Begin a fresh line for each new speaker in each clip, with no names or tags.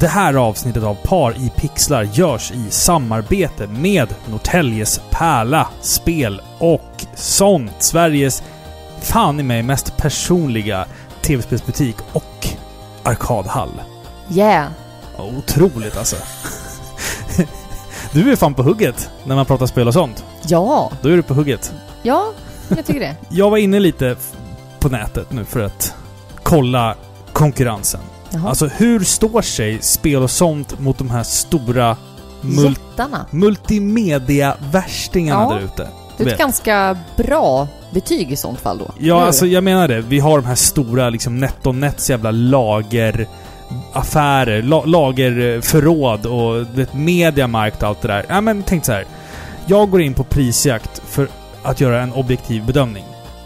Det här avsnittet av Par i pixlar görs i samarbete med Norrtäljes Pärla Spel och sånt. Sveriges fan i mig mest personliga tv-spelsbutik och arkadhall.
Yeah.
Otroligt alltså. Du är fan på hugget när man pratar spel och sånt.
Ja.
Då är du på hugget.
Ja, jag tycker det.
Jag var inne lite f- på nätet nu för att kolla konkurrensen.
Jaha.
Alltså hur står sig spel och sånt mot de här stora mul-
Jättarna.
multimedia-värstingarna
Ja.
där ute?
Det är
vet.
ett ganska bra betyg i sånt fall då.
Ja,
Eller?
alltså jag menar det. Vi har de här stora liksom NetOnNets jävla lager affärer, la, lagerförråd och du vet, mediamarkt och allt det där. Ja, men tänk så här. Jag går in på prisjakt för att göra en objektiv bedömning.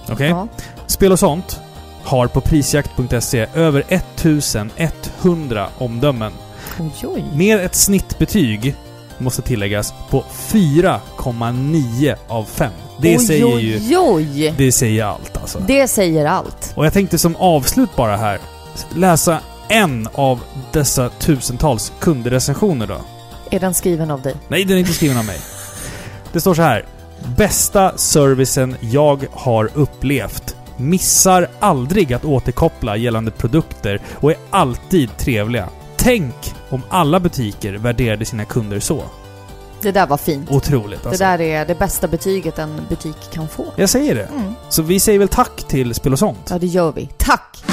Okej?
Ja.
Spel och sånt har på prisjakt.se E över 1100 omdömen.
Oj, oj.
Med ett snittbetyg, måste tilläggas, på 4,9 av 5. Det
oj,
säger
oj,
ju...
Oj.
Det säger allt alltså.
Det säger allt.
Och jag tänkte som avslut bara här, läsa en av dessa tusentals kundrecensioner då.
Är den skriven av dig?
Nej, den är inte skriven av mig. Det står så här. Bästa servicen jag har upplevt. Missar aldrig att återkoppla gällande produkter och är alltid trevliga. Tänk om alla butiker värderade sina kunder så.
Det där var fint.
Otroligt alltså.
Det där är det bästa betyget en butik kan få.
Jag säger det.
Mm.
Så vi säger väl tack till Spel och sånt.
Ja, det gör vi. Tack!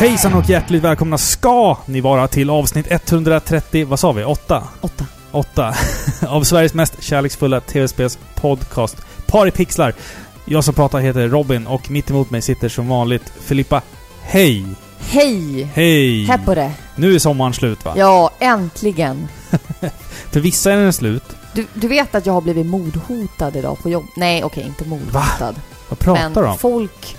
Hejsan och hjärtligt välkomna ska ni vara till avsnitt 130, vad sa vi? 8?
Åtta.
8 av Sveriges mest kärleksfulla tv-spelspodcast Par i pixlar. Jag som pratar heter Robin och mitt emot mig sitter som vanligt Filippa. Hej!
Hej!
Hej!
Här på det.
Nu är sommaren slut va?
Ja, äntligen.
För vissa är den slut.
Du, du vet att jag har blivit mordhotad idag på jobb? Nej, okej, inte mordhotad.
Vad pratar du
Men
om?
folk...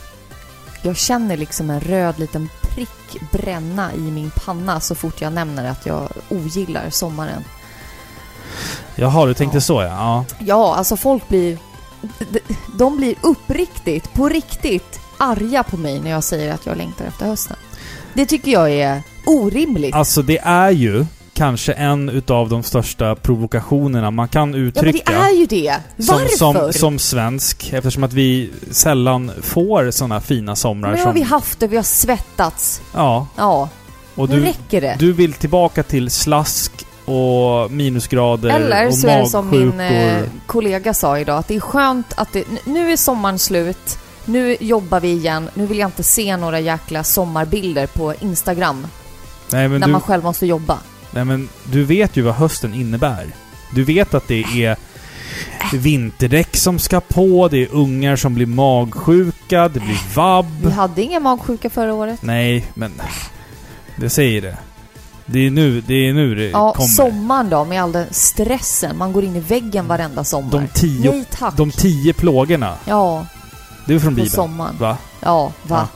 Jag känner liksom en röd liten prick bränna i min panna så fort jag nämner att jag ogillar sommaren.
Jaha, du tänkte
Ja.
så ja. ja.
Ja, alltså folk blir... d- d- De blir uppriktigt, på riktigt arga på mig när jag säger att jag längtar efter hösten. Det tycker jag är orimligt.
Alltså det är ju kanske en utav de största provokationerna man kan
Ja, men det
uttrycka.
är ju det.
som,
Varför?
som, som svensk, eftersom att vi sällan får sådana fina somrar
nu har
som...
vi haft det, vi har svettats.
Ja,
Ja,
och
nu
du,
räcker det.
Du vill tillbaka till slask och minusgrader
Eller
och
så är det som min eh,
magsjukor.
kollega sa idag, att det är skönt att det, n- nu är sommaren slut, nu jobbar vi igen, nu vill jag inte se några jäkla sommarbilder på Instagram
Nej, men
när
du,
man själv måste jobba.
nej men du vet ju vad hösten innebär. Du vet att det är vinterdäck som ska på, det är ungar som blir magsjuka, det blir
Vi
vabb.
hade ingen magsjuka förra året.
Nej, men... Det säger det. Det är nu det, är nu det
Ja,
kommer. Mm.
sommaren då med all den stressen, man går in i väggen varenda sommar.
de, tio,
Nej tack.
de tio plågorna.
ja,
Det är från
på
Bibeln.
sommaren.
Va?
Ja, va?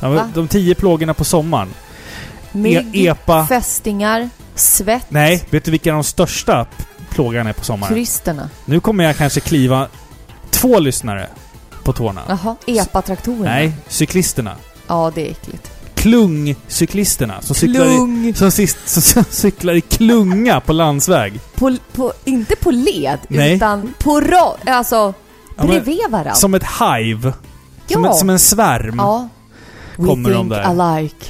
Ja, men
Va?
De tio plågorna på sommaren. E-
Mygg,
epa.
fästingar, svett,
Nej, vet du vilka de största p- plågorna är på sommaren?
turisterna.
Nu kommer jag kanske kliva två lyssnare på tårna.
Jaha, epa-traktorerna.
Nej, cyklisterna.
Ja, det är äckligt.
Klungcyklisterna som cyklar i,
Klung!
som sist, som, som cyklar i klunga på landsväg.
På, på, inte på led,
Nej.
utan på rad, alltså
Ja, men-
bredvid varandra.
Som ett hive. Som,
Ja.
en, som en svärm
ja. We
Kommer de
think
där.
alike.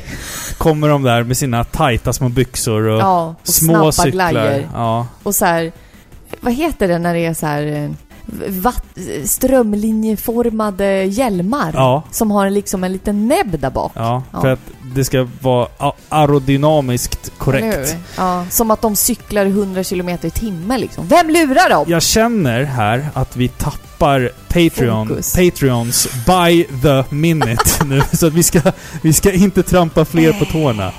kommer de där med sina tajta små byxor och,
Ja, och
små
snabba
cyklar.
glajjor.
Ja.
Och så här, vad heter det när det är så här eh, vatt, strömlinjeformade hjälmar?
Ja.
Som har liksom en liten näbb där bak.
Ja,
Ja.
för att det ska vara a- aerodynamiskt
Eller
korrekt.
hur? Ja, som att de cyklar 100 km i timmen liksom. Vem lurar dem?
Jag känner här att vi tappar Patreon,
Fokus.
Patreons by the minute nu. Så att vi ska, vi ska inte trampa fler på tårna.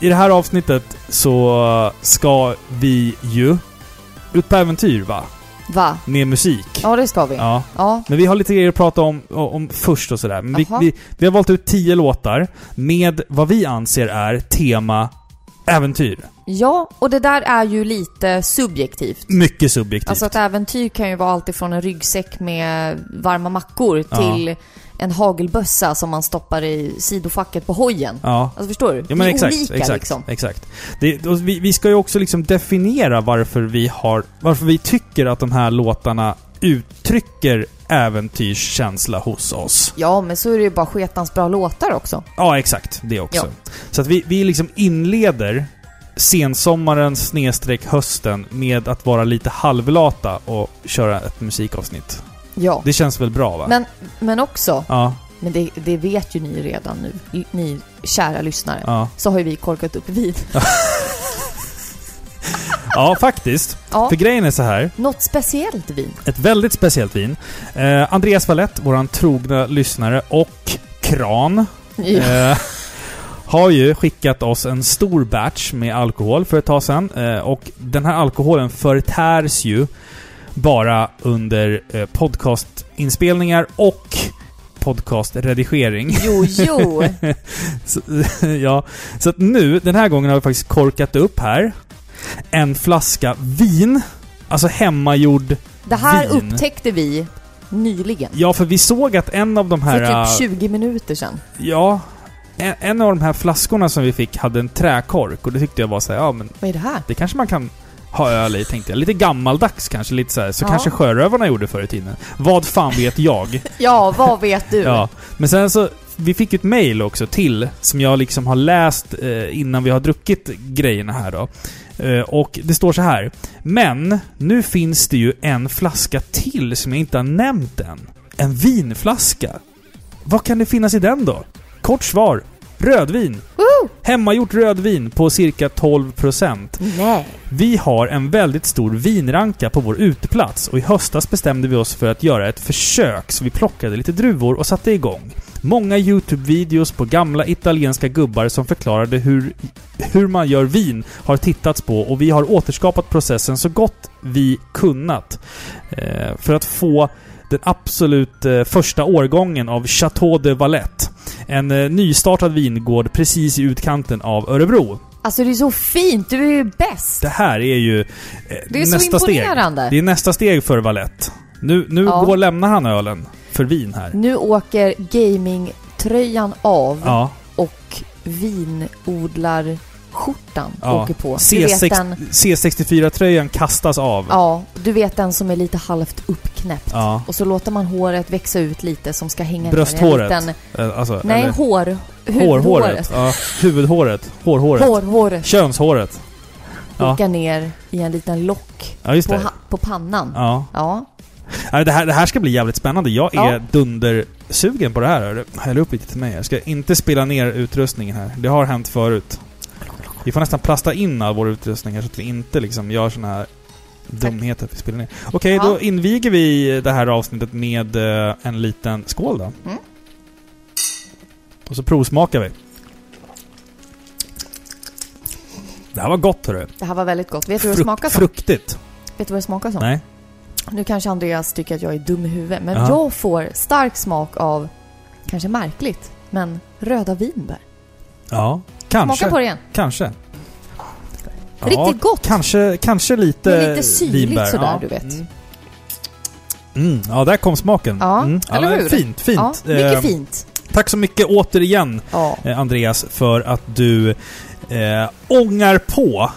I det här avsnittet så ska vi ju ut på äventyr va?
Va?
Med musik.
Ja, det ska vi. Ja.
Ja. Men vi har lite grejer att prata om, om först och sådär. Men vi,
Jaha.
vi, vi har valt ut tio låtar med vad vi anser är tema äventyr.
ja, och det där är ju lite subjektivt.
Mycket subjektivt.
Alltså ett äventyr kan ju vara allt ifrån en ryggsäck med varma mackor
Ja.
till en hagelbössa som man stoppar i sidofacket på hojen.
ja.
Alltså förstår du?
Ja, men
det är
exakt,
olika
exakt,
liksom.
exakt. Det, och vi, vi ska ju också liksom definiera varför vi har, varför vi tycker att de här låtarna uttrycker äventyrskänsla hos oss.
Ja, men så är det ju bara sketans bra låtar också.
Ja, exakt. Det också. Så att vi, vi liksom inleder sensommaren snedstreck hösten med att vara lite halvlata och köra ett musikavsnitt.
Ja.
Det känns väl bra va?
Men, men också,
Ja,
men det, det vet ju ni redan nu, ni kära lyssnare,
ja.
så har ju vi korkat upp vin.
ja, faktiskt.
Ja,
För grejen är så här.
något speciellt vin.
Ett väldigt speciellt vin. Eh, Andreas Valett, våran trogna lyssnare och Kran,
Ja.
eh, har ju skickat oss en stor batch med alkohol för ett tag sedan. Eh, och den här alkoholen förtärs ju bara under eh, podcastinspelningar och podcastredigering.
Jo, jo.
Så, ja. Så att nu, den här gången har vi faktiskt korkat upp här en flaska vin. Alltså hemmagjord.
Det här
Vin.
upptäckte vi nyligen.
Ja, för vi såg att en av de här...
För
eh,
typ 20 minuter sedan.
Ja. En, en av de här flaskorna som vi fick hade en träkork och det tyckte jag var så här, ja men
Vad är det här?
det kanske man kan ha öl i tänkte jag. Lite gammaldags kanske, lite så här. Så
Ja.
kanske sjörövarna gjorde förr i tiden. Vad fan vet jag?
Ja, vad vet du?
ja. Men sen så, vi fick ju ett mail också till, som jag liksom har läst eh, innan vi har druckit grejerna här då. Eh, och det står så här. Men, nu finns det ju en flaska till som jag inte har nämnt än. En vinflaska. Vad kan det finnas i den då? Kort svar. Rödvin.
Woo!
Hemmagjort rödvin på cirka 12%.
Nej.
Vi har en väldigt stor vinranka på vår uteplats och i höstas bestämde vi oss för att göra ett försök så vi plockade lite druvor och satte igång. Många YouTube-videos på gamla italienska gubbar som förklarade hur, hur man gör vin har tittats på och vi har återskapat processen så gott vi kunnat. Eh, för att få den absolut eh, första årgången av Chateau de Valette. En eh, nystartad vingård precis i utkanten av Örebro.
Alltså det är så fint, du är ju bäst.
Det här är ju eh,
Det är
nästa
så
steg.
imponerande.
Det är nästa steg för Valett. Nu, nu
Ja.
går, lämnar han ölen för vin här.
Nu åker gamingtröjan av
Ja.
och vinodlarskjortan
Ja.
åker på. Du vet den,
C6, C64-tröjan kastas av.
ja, du vet den som är lite halvt uppknäppt.
Ja.
Och så låter man håret växa ut lite som ska hänga
Brösthåret.
ner i en liten...
Eh, Alltså,
Nej,
eller-
hår...
hårhåret.
Huvudhåret.
Ja. Huvudhåret. Hårhåret.
Hårhåret.
Könshåret. Ja.
Åka ner i en liten lock
Ja, just
på,
det.
ha- på pannan. Ja.
Ja. Nej, Det här, det här ska bli jävligt spännande. Jag är
Ja.
dundersugen på det här. hörru. Häll upp lite till mig. Jag ska inte spilla ner utrustningen här. Det har hänt förut. Vi får nästan plasta in all vår utrustning här så att vi inte liksom gör såna här dumheter att vi spiller ner. Okej,
Ja.
då inviger vi det här avsnittet med eh, en liten skål då.
Mm.
Och så provsmakar vi. Det här var gott hörru.
Det här var väldigt gott. Vet du vad det
Frukt-
smakar som?
Fruktigt.
Vet du vad det smakar som?
Nej.
Nu kanske Andreas tycker att jag är dum i huvudet, men
Ja.
jag får stark smak av, kanske märkligt, men röda vinbär.
Ja. Kanske.
Smaka på det igen.
Kanske. Ja,
Riktigt gott!
Kanske, kanske lite
Men lite syrligt
vinbär.
sådär, du vet.
Mm. Mm, ja, där kom smaken.
Ja,
mm.
eller
men
hur?
Fint,
Ja,
fint.
mycket
Eh,
fint.
Tack så mycket återigen,
Ja.
eh, Andreas, för att du eh, ångar på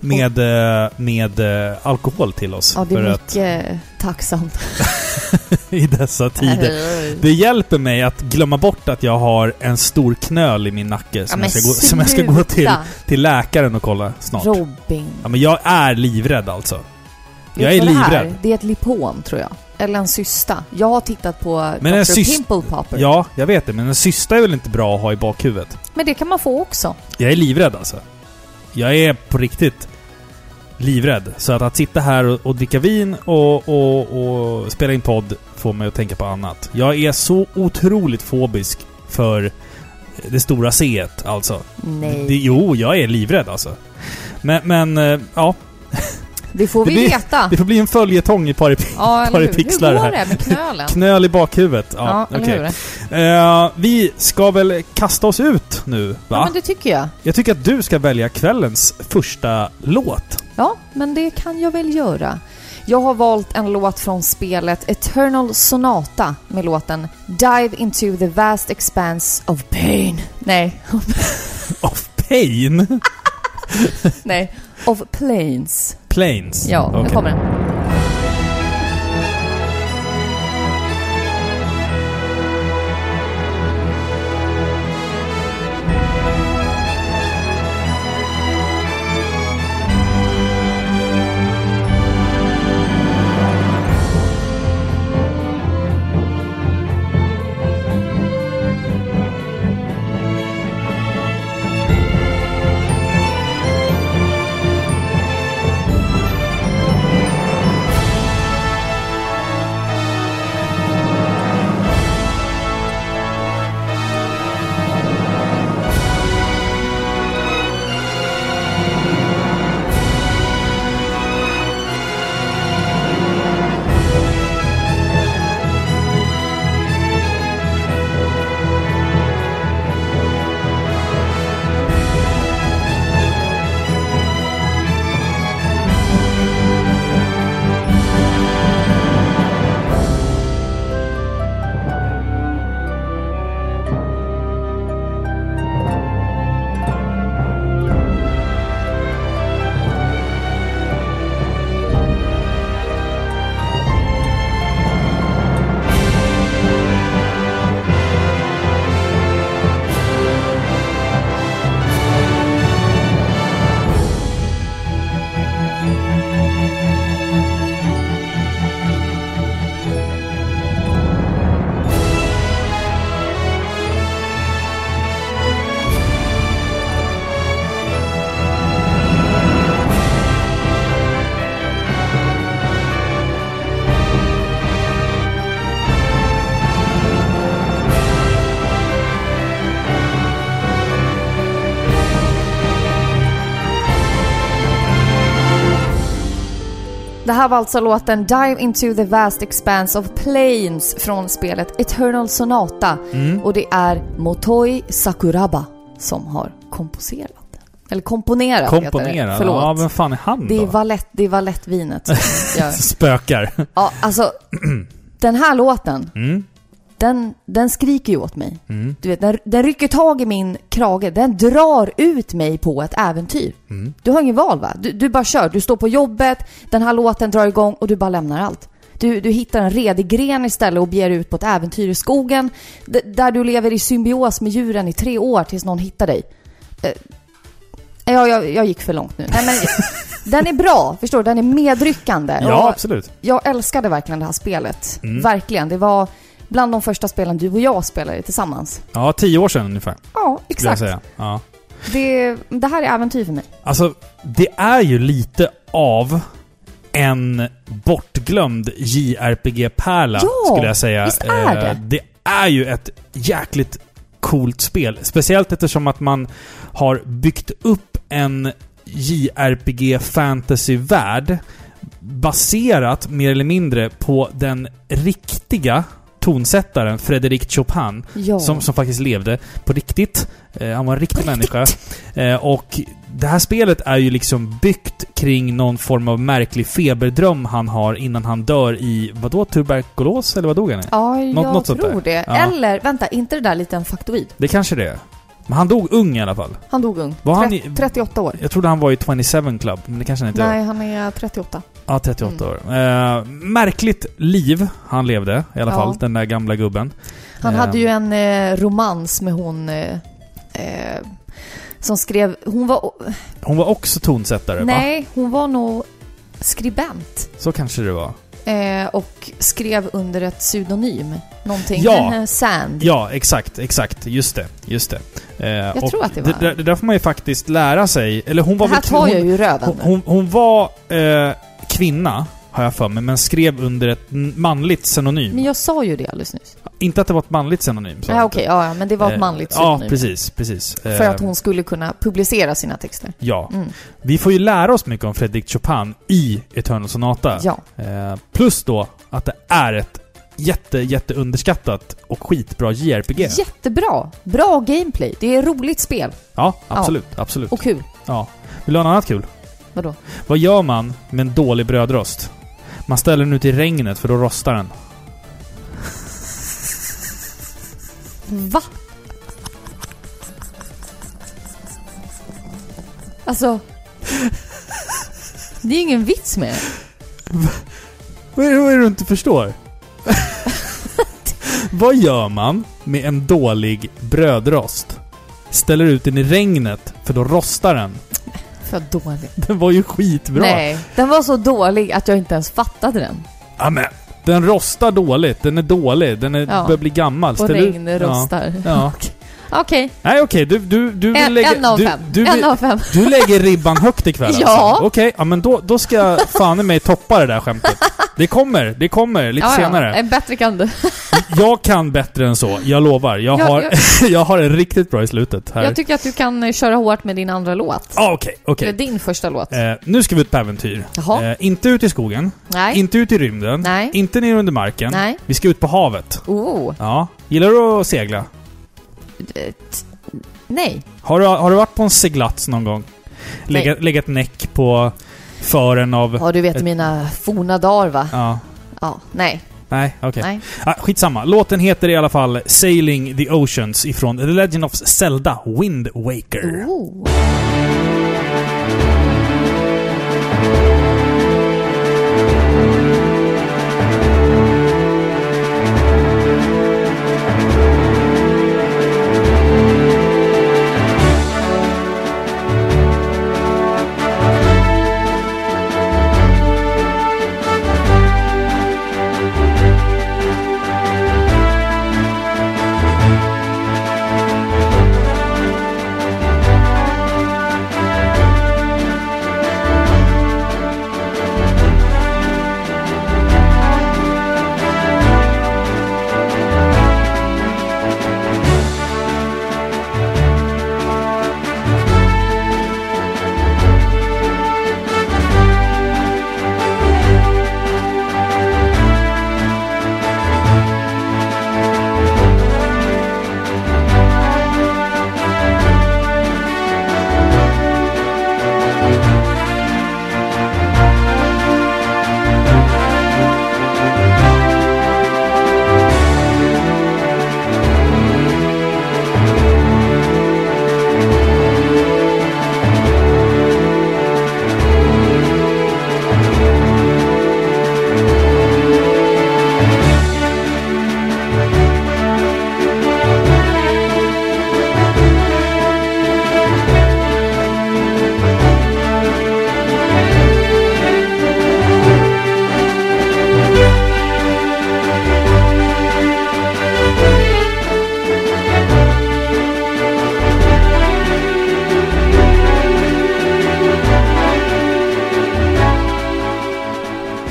med, eh, med eh, alkohol till oss.
Oh. ja, det
för
är
att,
mycket eh, tacksamt.
I dessa tider. Det hjälper mig att glömma bort att jag har en stor knöl i min nacke som,
men
jag, ska gå, som jag ska gå till,
sluta,
till läkaren och kolla snart.
Robin.
Ja, men jag är livrädd alltså. Jag
Vet
är
du vad det här
livrädd.
Det är ett lipom, tror jag. Eller en cysta. Jag har tittat på
Men
men
en
Dr.
cyst-
Pimple Popper.
Ja, jag vet det, men en cysta är väl inte bra att ha i bakhuvudet?
Men det kan man få också.
Jag är livrädd alltså. Jag är på riktigt livrädd. Så att, att sitta här och, och dricka vin och, och, och spela in podd får mig att tänka på annat. Jag är så otroligt fobisk för det stora C alltså.
Nej.
Det, jo, jag är livrädd alltså. Men, men eh, ja,
Det får
Det
vi
blir-
veta.
det får bli en följetong i par i
Ja, eller
tar i
hur?
pixlar
Hur går
här.
det med knölen?
knöl i bakhuvudet. Ja,
Ja,
okej.
eller hur?
Eh, vi ska väl kasta oss ut nu, va?
Ja, men det tycker jag.
Jag tycker att du ska välja kvällens första låt.
Ja, men det kan jag väl göra. Jag har valt en låt från spelet Eternal Sonata med låten Dive into the vast expanse of pain. Nej,
Of Pain
nej. Of planes.
Planes.
Ja, nu
Okej.
kommer den. Det här var alltså låten Dive into the vast expanse of planes från spelet Eternal Sonata.
Mm.
Och det är Motoi Sakuraba som har komposerat. den. Eller komponerat heter
Komponera.
det.
Ja,
Förlåt.
vem fan är han
det, är
då?
valett, det är valettvinet som gör.
Spökar.
Ja, alltså den här låten,
Mm.
den, den skriker ju åt mig.
Mm.
Du vet, den, den rycker tag i min krage. Den drar ut mig på ett äventyr.
Mm.
Du har ingen val va? Du, du bara kör. Du står på jobbet, den här låten drar igång och du bara lämnar allt. Du, du hittar en redig gren istället och beger ut på ett äventyr i skogen. d- Där du lever i symbios med djuren i tre år tills någon hittar dig. Eh, Ja, jag, jag gick för långt nu. Nej, men, den är bra, förstår du? Den är medryckande.
Ja,
Och-
absolut.
jag älskade verkligen det här spelet.
Mm.
Verkligen. Det var bland de första spelen du och jag spelade tillsammans.
Ja, tio år sedan ungefär. skulle
Ja, exakt.
Jag säga. Ja.
Det, det här är äventyr för mig.
Alltså, det är ju lite av en bortglömd JRPG-pärla,
Ja,
skulle jag säga.
visst är
Eh,
det.
Det är ju ett jäkligt coolt spel. Speciellt eftersom att man har byggt upp en JRPG-fantasy-värld baserat mer eller mindre på den riktiga tonsättaren Frédéric Chopin
Ja.
som, som faktiskt levde på riktigt. Eh, han var en riktig människa. Eh, och det här spelet är ju liksom byggt kring någon form av märklig feberdröm han har innan han dör i, vadå, tuberkulos? Eller vad dog han i?
ja, jag
något sånt
tror det.
Ja.
Eller, vänta, inte det där liten faktoid?
Det kanske det är. Men han dog ung i alla fall.
Han dog ung.
Var han
Tre-
i-
38 år.
Jag trodde han var i 27 Club, men det kanske han inte var.
Nej, Mm. han är 38.
Ja, 38 år. Eh, märkligt liv han levde i alla
Ja.
fall, den där gamla gubben.
Han
Ehm.
hade ju en eh, romans med hon eh, eh, som skrev... Hon var...
Hon var också tonsättare, va?
Nej, hon var nog skribent.
Så kanske det var.
Eh, och skrev under ett pseudonym. Någonting.
Ja.
Eh, Sand.
Ja, exakt, exakt. Just det, just det. Eh,
Jag
och
tror att det var
Det, där- det där får man ju faktiskt lära sig. Eller hon var
Det här
väl-
tar
hon,
jag ju i röven.
hon, hon, hon var eh, kvinna, har jag för mig, men skrev under ett n- manligt synonym.
Men jag sa ju det alldeles nyss.
Inte att det var ett manligt synonym. sa
Nej,
jag
okej.
inte.
ja, ja, men det var ett
Eh,
manligt
Ja,
synonym.
precis. precis.
För
Eh,
att hon skulle kunna publicera sina texter.
Ja.
Mm.
Vi får ju lära oss mycket om Frédéric Chopin i Eternal Sonata.
Ja.
Eh, plus då att det är ett jätte, jätte underskattat och skitbra JRPG.
Jättebra! Bra gameplay. Det är roligt spel.
Ja, absolut. Absolut.
Och kul.
Ja. Vill du ha något annat kul?
Vadå?
Vad gör man med en dålig brödrost? Man ställer den ut i regnet för då rostar den.
Va? Alltså... Det är ju ingen vits med det.
Vad är det, vad är det du inte förstår? vad gör man med en dålig brödrost? Ställer ut den i regnet för då rostar den.
För dålig.
Den var ju skitbra.
Nej, den var så dålig att jag inte ens fattade den.
Amen. Den rostar dåligt, den är dålig, den är,
Ja.
börjar bli gammal.
Och
Ställ ut-
regnrostar.
Ja. ja.
Okej,
Nej okej, du, du, du vill
en,
lägga...
en av
du,
fem.
Du,
en
vill,
av fem.
du lägger ribban högt ikväll
Ja.
alltså. Okej, ja, men då, då ska jag fan i mig toppa det där skämtet. Det kommer, det kommer lite
Ja, Eh. ja.
senare.
En bättre kan du.
Jag kan bättre än så, jag lovar. Jag,
Jag-
har, jag... har en riktigt bra i slutet här.
Jag tycker att du kan eh, köra hårt med din andra låt.
ah, okej, okej.
Eller din första låt.
Eh, nu ska vi ut på äventyr.
Jaha.
Eh, inte ut i skogen,
Nej.
inte ut i rymden,
Nej.
inte ner under marken.
Nej.
Vi ska ut på havet.
Oh.
Ja. Gillar du att segla?
eh, t- Nej.
Har du, har du varit på en seglats någon gång? Lägga, läggat näck på fören av...
Ja, du vet mina forna dagar va?
Eh. Ja.
Ja. Nej.
Nej, okej.
Nej.
Ah, skitsamma. Låten heter i alla fall Sailing the Oceans ifrån The Legend of Zelda Wind Waker.
Oh.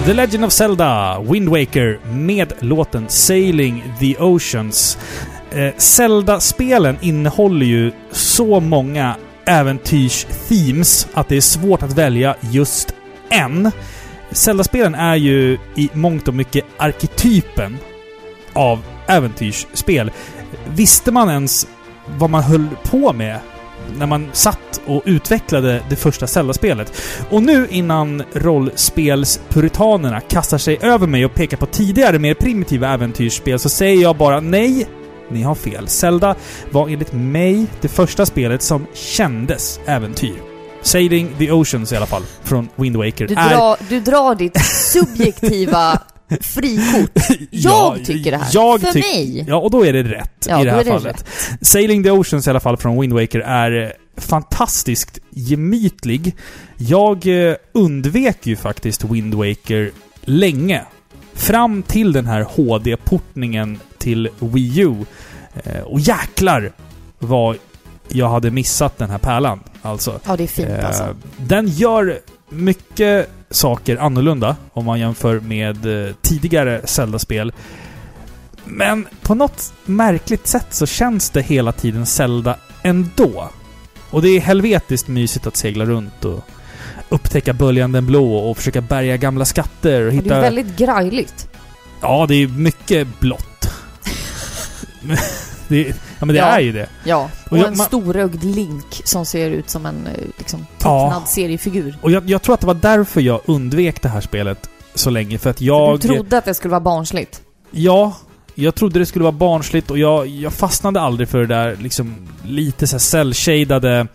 The Legend of Zelda Wind Waker med låten Sailing the Oceans. Eh, Zelda-spelen innehåller ju så många äventyrs-themes att det är svårt att välja just en. Zelda-spelen är ju i mångt och mycket arketypen av äventyrsspel. Visste man ens vad man höll på med när man satt och utvecklade det första Zelda-spelet? Och nu innan rollspelspuritanerna kastar sig över mig och pekar på tidigare mer primitiva äventyrsspel så säger jag bara nej. Ni har fel. Zelda var enligt mig det första spelet som kändes äventyr. Sailing the Oceans i alla fall, från Wind Waker.
Du,
är-
drar, du drar ditt subjektiva frikort. Jag tycker det här.
Jag
För
tyck-
mig.
Ja, och då är det rätt
Ja,
i det
då
här
är det
fallet. Sailing the Oceans i alla fall från Wind Waker är eh, fantastiskt gemytlig. Jag eh, undvek ju faktiskt Wind Waker länge. Fram till den här HD-portningen till Wii U. Eh, Och jäklar vad jag hade missat den här pärlan. Alltså.
Ja, det är fint
Eh,
alltså.
Den gör mycket saker annorlunda om man jämför med eh, tidigare Zelda-spel. Men på något märkligt sätt så känns det hela tiden Zelda ändå. Och det är helvetiskt mysigt att segla runt och upptäcka böljan den blå och försöka bärga gamla skatter och
Men Det
hitta...
är väldigt grajligt.
Ja, det är mycket blått. Men det, ja, men det
Ja.
är ju det.
Ja. Och,
Och jag-
en
man-
storögd Link som ser ut som en eh, liksom,
Ja.
tecknad seriefigur.
Och jag, jag tror att det var därför jag undvek det här spelet så länge. För att
Du
jag...
trodde att det skulle vara barnsligt.
Ja, jag trodde det skulle vara barnsligt och jag, jag fastnade aldrig för det där liksom lite så här cell-shadade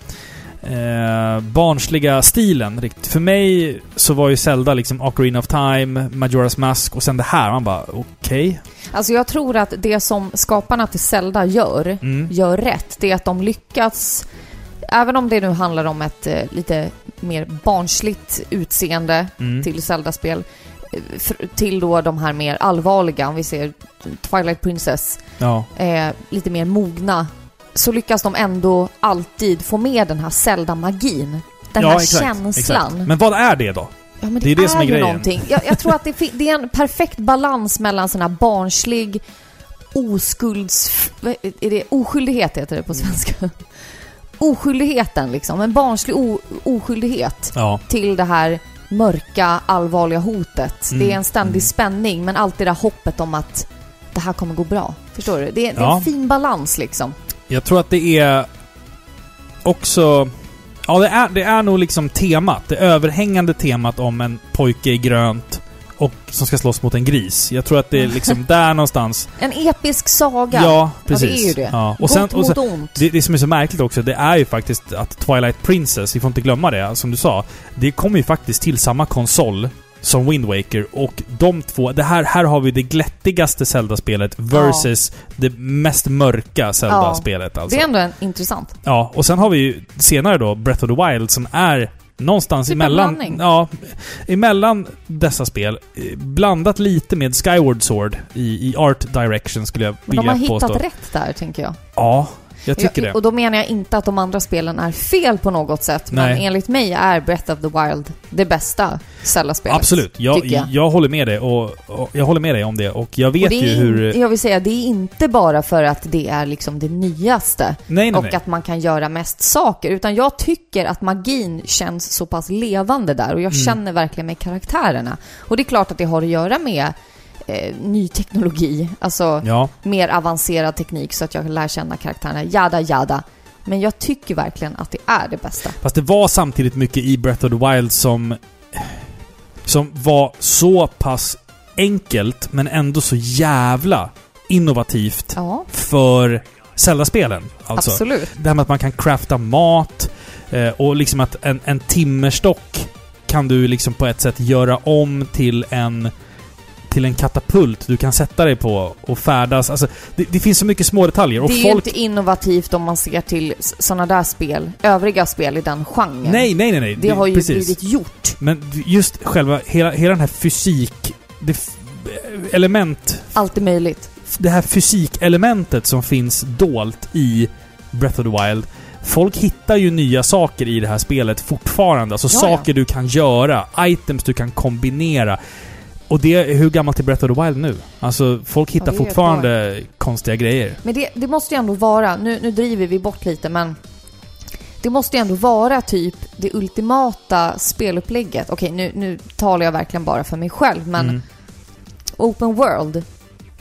eh, barnsliga stilen riktigt. För mig så var ju Zelda liksom Ocarina of Time, Majora's Mask och sen det här. Man bara okej.
Alltså jag tror att det som skaparna till Zelda gör,
Mm.
gör rätt, det är att de lyckats, även om det nu handlar om ett eh, lite mer barnsligt utseende
Mm.
till Zelda-spel, eh, fr- till då de här mer allvarliga, om vi ser Twilight Princess,
Ja.
eh, lite mer mogna, så lyckas de ändå alltid få med den här Zelda-magin. Den
ja,
här
exakt,
känslan.
Exakt. Men vad är det då?
Ja, men det,
Det är
är
det som är
ju
grejen.
någonting. Jag, jag tror att det, fi- det är en perfekt balans mellan sån här barnslig oskulds... vad Är det oskyldighet heter det på
Mm.
svenska? Oskyldigheten liksom. En barnslig o, oskyldighet
Ja.
till det här mörka, allvarliga hotet.
Mm,
Det är en ständig
mm.
spänning, men alltid det här hoppet om att det här kommer gå bra. Förstår du? Det är, det är
Ja.
en fin balans liksom.
Jag tror att det är också... Ja, det är, det är nog liksom temat. Det överhängande temat om en pojke i grönt och som ska slåss mot en gris. Jag tror att det är liksom där någonstans.
En episk saga.
Ja, precis.
det är ju det.
Ja. Och
Gott
sen, och
mot
sen,
ont.
det, det som är så märkligt också, det är ju faktiskt att Twilight Princess, vi får inte glömma det, som du sa. Det kommer ju faktiskt till samma konsol som Wind Waker och de två... Det här, här har vi det glättigaste Zelda-spelet versus det mest mörka Zelda-spelet. Alltså.
Det är ändå en, intressant.
Ja, och sen har vi ju senare då Breath of the Wild som är någonstans
Typ en
emellan...
blandning.
Ja, emellan dessa spel. eh, Blandat lite med Skyward Sword i, i Art Direction skulle jag
Men de har
vilja
hittat
påstå.
rätt där, tänker jag.
Ja, jag tycker
Ja,
det.
Och då menar jag inte att de andra spelen är fel på något sätt, men
Nej.
enligt mig är Breath of the Wild det bästa Zelda-spelet.
Absolut. Jag,
tycker jag.
jag. håller med dig och, och jag håller med dig om det och jag
Och
vet
det
ju
är,
hur...
in- Jag vill säga, det är inte bara för att det är liksom det nyaste
Nej, nej,
och
nej.
att man kan göra mest saker, utan jag tycker att magin känns så pass levande där och jag
Mm.
känner verkligen med karaktärerna. Och det är klart att det har att göra med eh, ny teknologi, alltså
Ja.
mer avancerad teknik så att jag lär känna karaktärerna, jada jada. Men jag tycker verkligen att det är det bästa.
Fast det var samtidigt mycket i Breath of the Wild som... Som var så pass enkelt men ändå så jävla innovativt
Ja,
för Zelda-spelen. Alltså.
absolut.
Det här med att man kan crafta mat eh, och liksom att en, en timmerstock kan du liksom på ett sätt göra om till en till en katapult du kan sätta dig på och färdas. Alltså, det, det finns så mycket små detaljer. Och
det är
folk...
ju inte innovativt om man ser till sådana där spel, övriga spel i den genren.
Nej, nej, nej, nej.
Det har ju
precis.
blivit gjort.
Men just själva, hela, hela den här fysik... Det f- element...
Allt är möjligt.
Det här fysikelementet som finns dolt i Breath of the Wild. Folk hittar ju nya saker i det här spelet fortfarande. Alltså
Ja, ja.
saker du kan göra, items du kan kombinera. Och det, är- hur gammalt är Breath of the Wild nu? Alltså, folk
det
hittar
är ett
fortfarande konstiga grejer.
Men det, det måste ju ändå vara, nu, nu driver vi bort lite men det måste ju ändå vara typ det ultimata spelupplägget. Okej, nu, nu talar jag verkligen bara för mig själv men
Mm.
open world,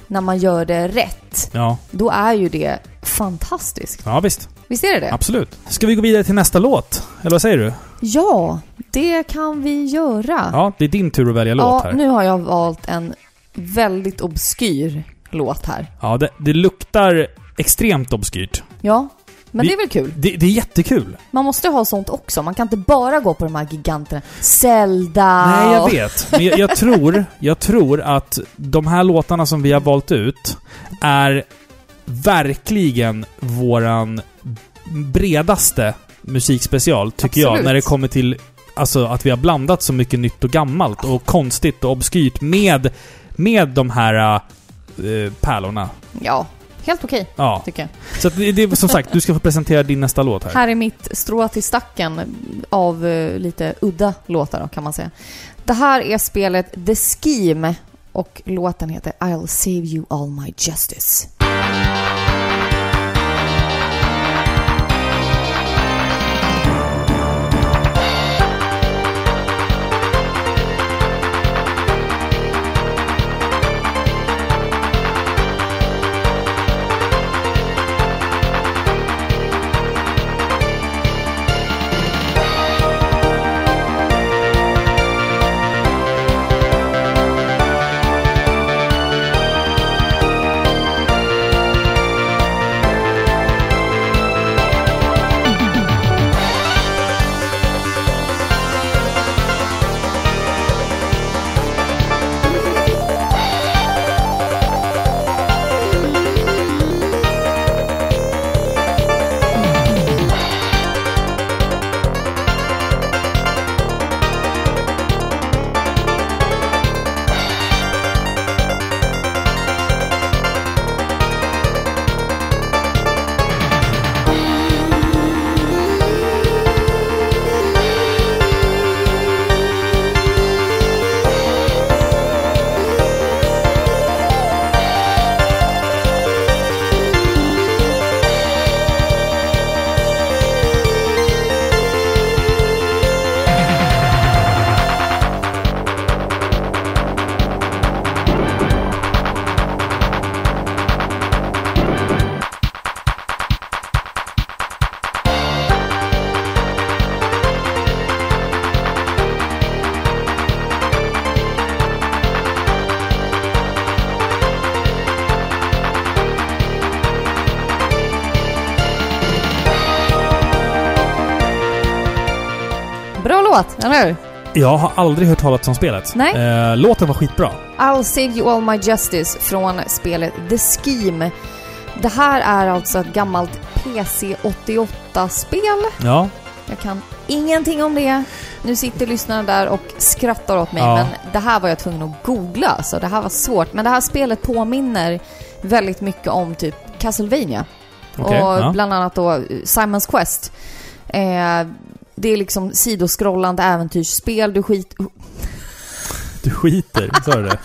när man gör det rätt,
Ja.
då är ju det fantastiskt.
ja, visst.
Visst är det det?
Absolut. Ska vi gå vidare till nästa låt? Eller vad säger du?
Ja, det kan vi göra.
Ja, det är din tur att välja låt här.
nu har jag valt en väldigt obskyr låt här.
Ja, det, det luktar extremt obskyrt.
Ja, men
Vi-
det är väl kul.
Det, det är jättekul.
Man måste ha sånt också. Man kan inte bara gå på de här giganterna. Zelda
Nej, jag
och-
vet. Men jag, jag, tror, jag tror att de här låtarna som vi har valt ut är verkligen våran bredaste musikspecial, tycker jag.
Absolut.
När det kommer till alltså, att vi har blandat så mycket nytt och gammalt och konstigt och obskyrt med, med de här äh, pärlorna.
Ja, helt okej
Ja.
tycker jag.
Så att det, det är som sagt, du ska få presentera din nästa låt här.
Här är mitt strå till stacken av eh, lite udda låtar då, kan man säga. Det här är spelet The Scheme Och låten heter I'll save you all my justice. Bra låt, eller hur?
Jag har aldrig hört talas om spelet.
Nej.
Eh, låten var skitbra.
I'll save you all my justice från spelet The Scheme. Det här är alltså ett gammalt PC-88-spel.
Ja.
Jag kan ingenting om det. Nu sitter lyssnarna där och skrattar åt mig,
Ja.
men det här var jag tvungen att googla, så det här var svårt. Men det här spelet påminner väldigt mycket om typ Castlevania.
Okej.
och
ja.
bland annat då eh, Simons Quest. Eh, det är liksom sidoskrollande äventyrsspel. Du, skit,
Du skiter, sa du det?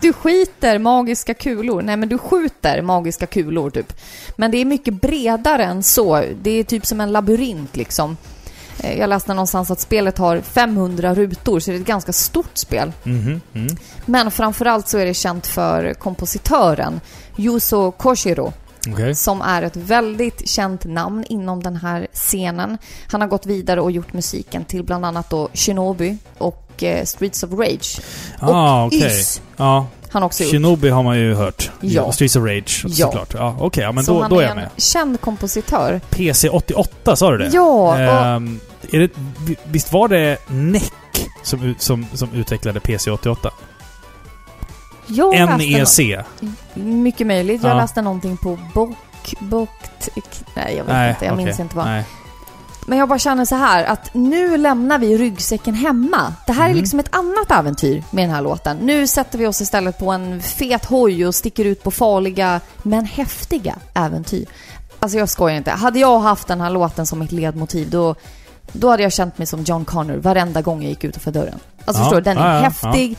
du skiter magiska kulor. Nej, men du skjuter magiska kulor typ. Men det är mycket bredare än så. Det är typ som en labyrint liksom. Eh, Jag läste någonstans att spelet har 500 rutor, så det är ett ganska stort spel.
Mhm, mm.
Men framförallt så är det känt för kompositören Yuzo Koshiro
Okej.
som är ett väldigt känt namn inom den här scenen. Han har gått vidare och gjort musiken till bland annat då Shinobi och eh, Streets of Rage.
Ah, okej.
Ys
Ja.
han har också gjort.
Shinobi har man ju hört.
Ja.
Streets of Rage,
Ja.
såklart. Ja, okej. Ja, men
så
då,
han
då är
är
jag
en
med.
känd kompositör.
PC88, sa du det?
Ja, och,
Ehm, är det, vi- visst var det NEC som, ut- som, som utvecklade PC88?
jag läste
NEC.
nå- mycket möjligt. Jag
Ja.
läste någonting på Bok... Bok... Nej, jag vet
Nej,
inte. Jag
okej.
minns inte vad.
Nej.
Men jag bara känner så här att nu lämnar vi ryggsäcken hemma. Det här
Mm.
är liksom ett annat äventyr med den här låten. Nu sätter vi oss istället på en fet hoj och sticker ut på farliga men häftiga äventyr. Alltså jag skojar inte. Hade jag haft den här låten som mitt ledmotiv då, då hade jag känt mig som John Connor varenda gång jag gick utanför dörren. Alltså
Ja,
förstår du? Den är
ja, ja,
häftig.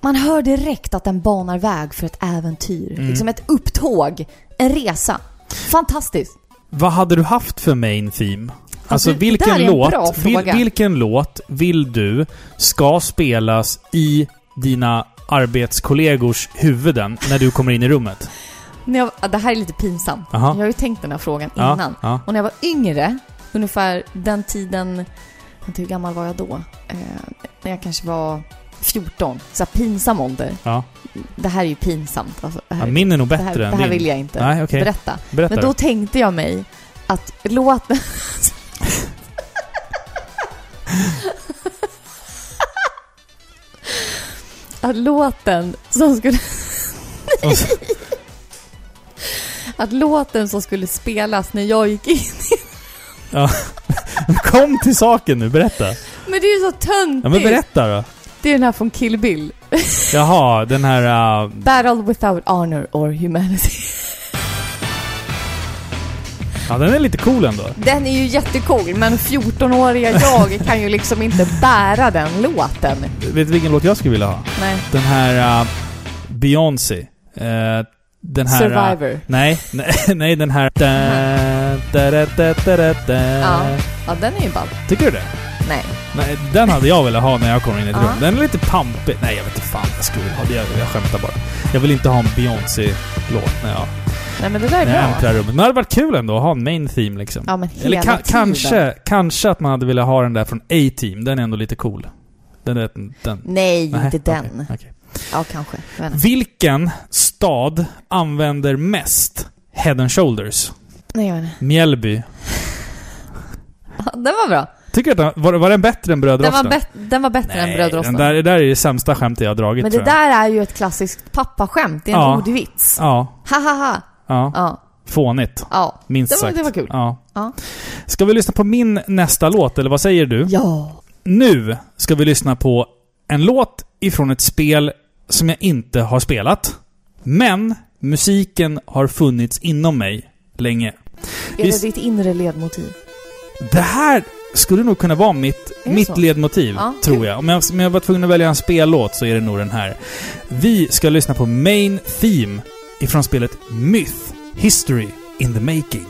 Man hör direkt att den banar väg för ett äventyr.
Mm.
Liksom ett upptåg. En resa. Fantastiskt.
Vad hade du haft för main theme? Alltså
det där är
vilken
en bra
låt, vil,
fråga.
vilken låt vill du ska spelas i dina arbetskollegors huvuden när du kommer in i rummet?
När jag, det här är lite pinsamt.
Aha.
Jag har ju tänkt den här frågan
Ja,
innan.
ja.
Och när jag var yngre, ungefär den tiden... vänta, Hur gammal var jag då? Eh, när jag kanske var 14. Så här, pinsam ålder.
Ja.
Det här är ju pinsamt. Alltså,
Ja,
det, här,
min är nog
det,
bättre
här, det
än
här
din.
vill jag inte
Nej, okej.
berätta.
Berätta.
Men då tänkte jag mig att låten... att låten som skulle...
Och så-
Att låten som skulle spelas när jag gick in.
Kom till saken nu, berätta.
Men det är ju så töntigt!
Ja, men berätta då.
Det är den här från Kill Bill.
Jaha, den här... Uh,
Battle without honor or humanity.
ja, den är lite cool ändå.
Den är ju jättecool, men 14-åriga jag kan ju liksom inte bära den låten.
Vet du vilken låt jag skulle vilja ha?
Nej.
Den här... Uh, Beyoncé. Eh, den här...
Survivor.
Nej, nej, nej, den här... Da, da, da, da, da, da, da.
Ja. Ja, den är ju ball.
Tycker du det?
Nej.
Nej, den hade jag velat ha när jag kommer in i ett
Ja.
rum. Den är lite pampig. Nej, jag vet inte fan jag skulle vilja ha det. Jag, jag skämtar bara. Jag vill inte ha en Beyoncé-låt när jag,
Nej, men det där är
när jag
bra.
äntrar rummet. Men det hade varit kul ändå att ha en main theme liksom.
Ja, men hela
Eller ka-
tiden.
kanske, kanske att man hade velat ha den där från A-Team. Den är ändå lite cool. Den, den, den.
Nej,
Nej,
inte
okej,
den.
okej.
Ja, kanske. Jag vet inte.
Vilken stad använder mest head and shoulders?
Nej, jag vet inte.
Mjällby.
Ja, Den var bra.
Tycker du att den, var, var den bättre än
Den var,
brödrosten?
bet- den var bättre än
Nej, den
brödrosten.
där, det där är det sämsta skämtet jag har dragit
Men det
tror jag.
där är ju ett klassiskt pappaskämt. Det är en
Ja.
ordvits.
Ja,
Ha, ha, ha.
ja.
Ja.
Fånigt.
Ja.
Minst
Det var-
sagt.
det var kul.
Ja.
Ja.
Ska vi lyssna på min nästa låt, eller vad säger du?
Ja.
Nu ska vi lyssna på en låt ifrån ett spel som jag inte har spelat. Men musiken har funnits inom mig länge.
Är
Visst-
det ditt inre ledmotiv?
Det här skulle nog kunna vara mitt,
Är det
mitt
så?
ledmotiv,
Ja.
tror jag. Om, jag. om jag var tvungen att välja en spellåt så är det nog den här. Vi ska lyssna på Main Theme ifrån spelet Myth History in the Making.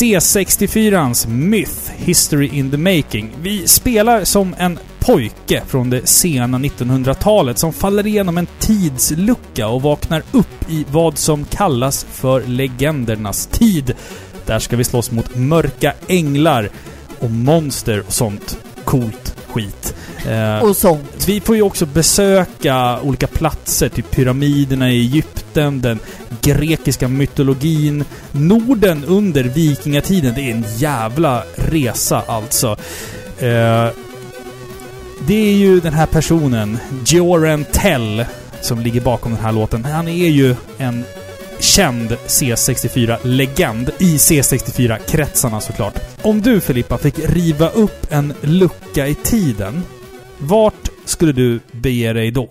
C64ans Myth History in the Making. Vi spelar som en pojke från det sena 1900-talet som faller igenom en tidslucka och vaknar upp i vad som kallas för legendernas tid. Där ska vi slåss mot mörka änglar och monster och sånt coolt skit. Eh,
Och sånt.
vi får ju också besöka olika platser, typ pyramiderna i Egypten, den grekiska mytologin, Norden under vikingatiden. Det är en jävla resa alltså. Eh, det är ju den här personen, Joran Tell, som ligger bakom den här låten. Han är ju en känd C64-legend i C64-kretsarna såklart. Om du Filippa fick riva upp en lucka i tiden, vart skulle du bege dig då?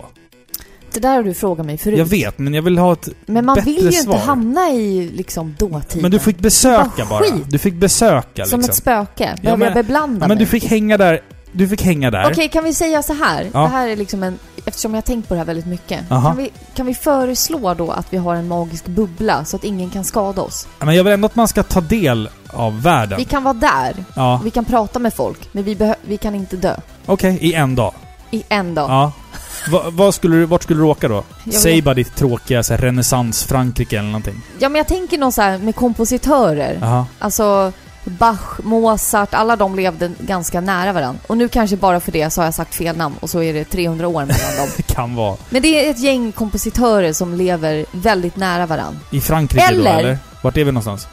Det där har du frågat mig förut.
Jag vet, men jag vill ha ett...
Men man
bättre
vill ju
svar.
inte hamna i liksom dåtiden.
Men du fick besöka
Vad
bara.
skit.
Du fick besöka liksom.
Som ett spöke. Behöver
men-
jag beblanda
Men du
mig?
fick hänga där. Du fick hänga där.
Okej, kan vi säga så här?
Ja.
Det här är liksom en... Eftersom jag har tänkt på det här väldigt mycket.
Aha.
Kan vi, kan vi föreslå då att vi har en magisk bubbla så att ingen kan skada oss?
Men jag vill ändå att man ska ta del av världen.
Vi kan vara där,
Ja,
vi kan prata med folk, men vi, behö- vi kan inte dö.
okej. I en dag.
i en dag.
Ja. Va, vad skulle du, vart skulle du åka då?
Jag
Säg
vet-
bara ditt tråkiga så här, renässans-Frankrike eller någonting.
Ja, men jag tänker någon så här med kompositörer.
Jaha.
Alltså Bach, Mozart, alla de levde ganska nära varandra. Och nu kanske bara för det så har jag sagt fel namn och så är det 300 år mellan dem.
Det kan vara.
Men det är ett gäng kompositörer som lever väldigt nära varandra.
I Frankrike då
Eller?
eller? Vart är vi någonstans?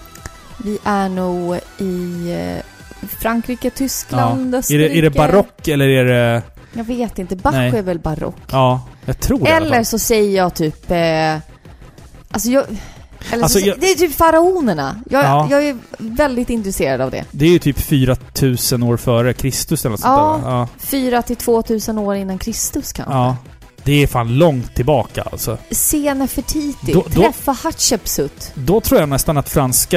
Vi är nog i eh, Frankrike, Tyskland,
Är
Österrike.
det, är det barock eller är det...
Jag vet inte. Bach
Nej.
är väl barock?
Ja, jag tror det i alla
Eller
fall.
så säger jag typ... Eh, alltså jag... Eller
Alltså,
så, säger-
jag-
Det är typ faraonerna. Jag,
Ja.
jag är väldigt intresserad av det.
Det är ju typ 4000 år före Kristus eller något
Ja.
sånt där va?
4 till 2000 år innan Kristus
ja.
kanske.
ja. Det är fan långt tillbaka alltså.
Se Nefertiti,
Då- då-
träffa Hatshepsut.
Då tror jag nästan att franska...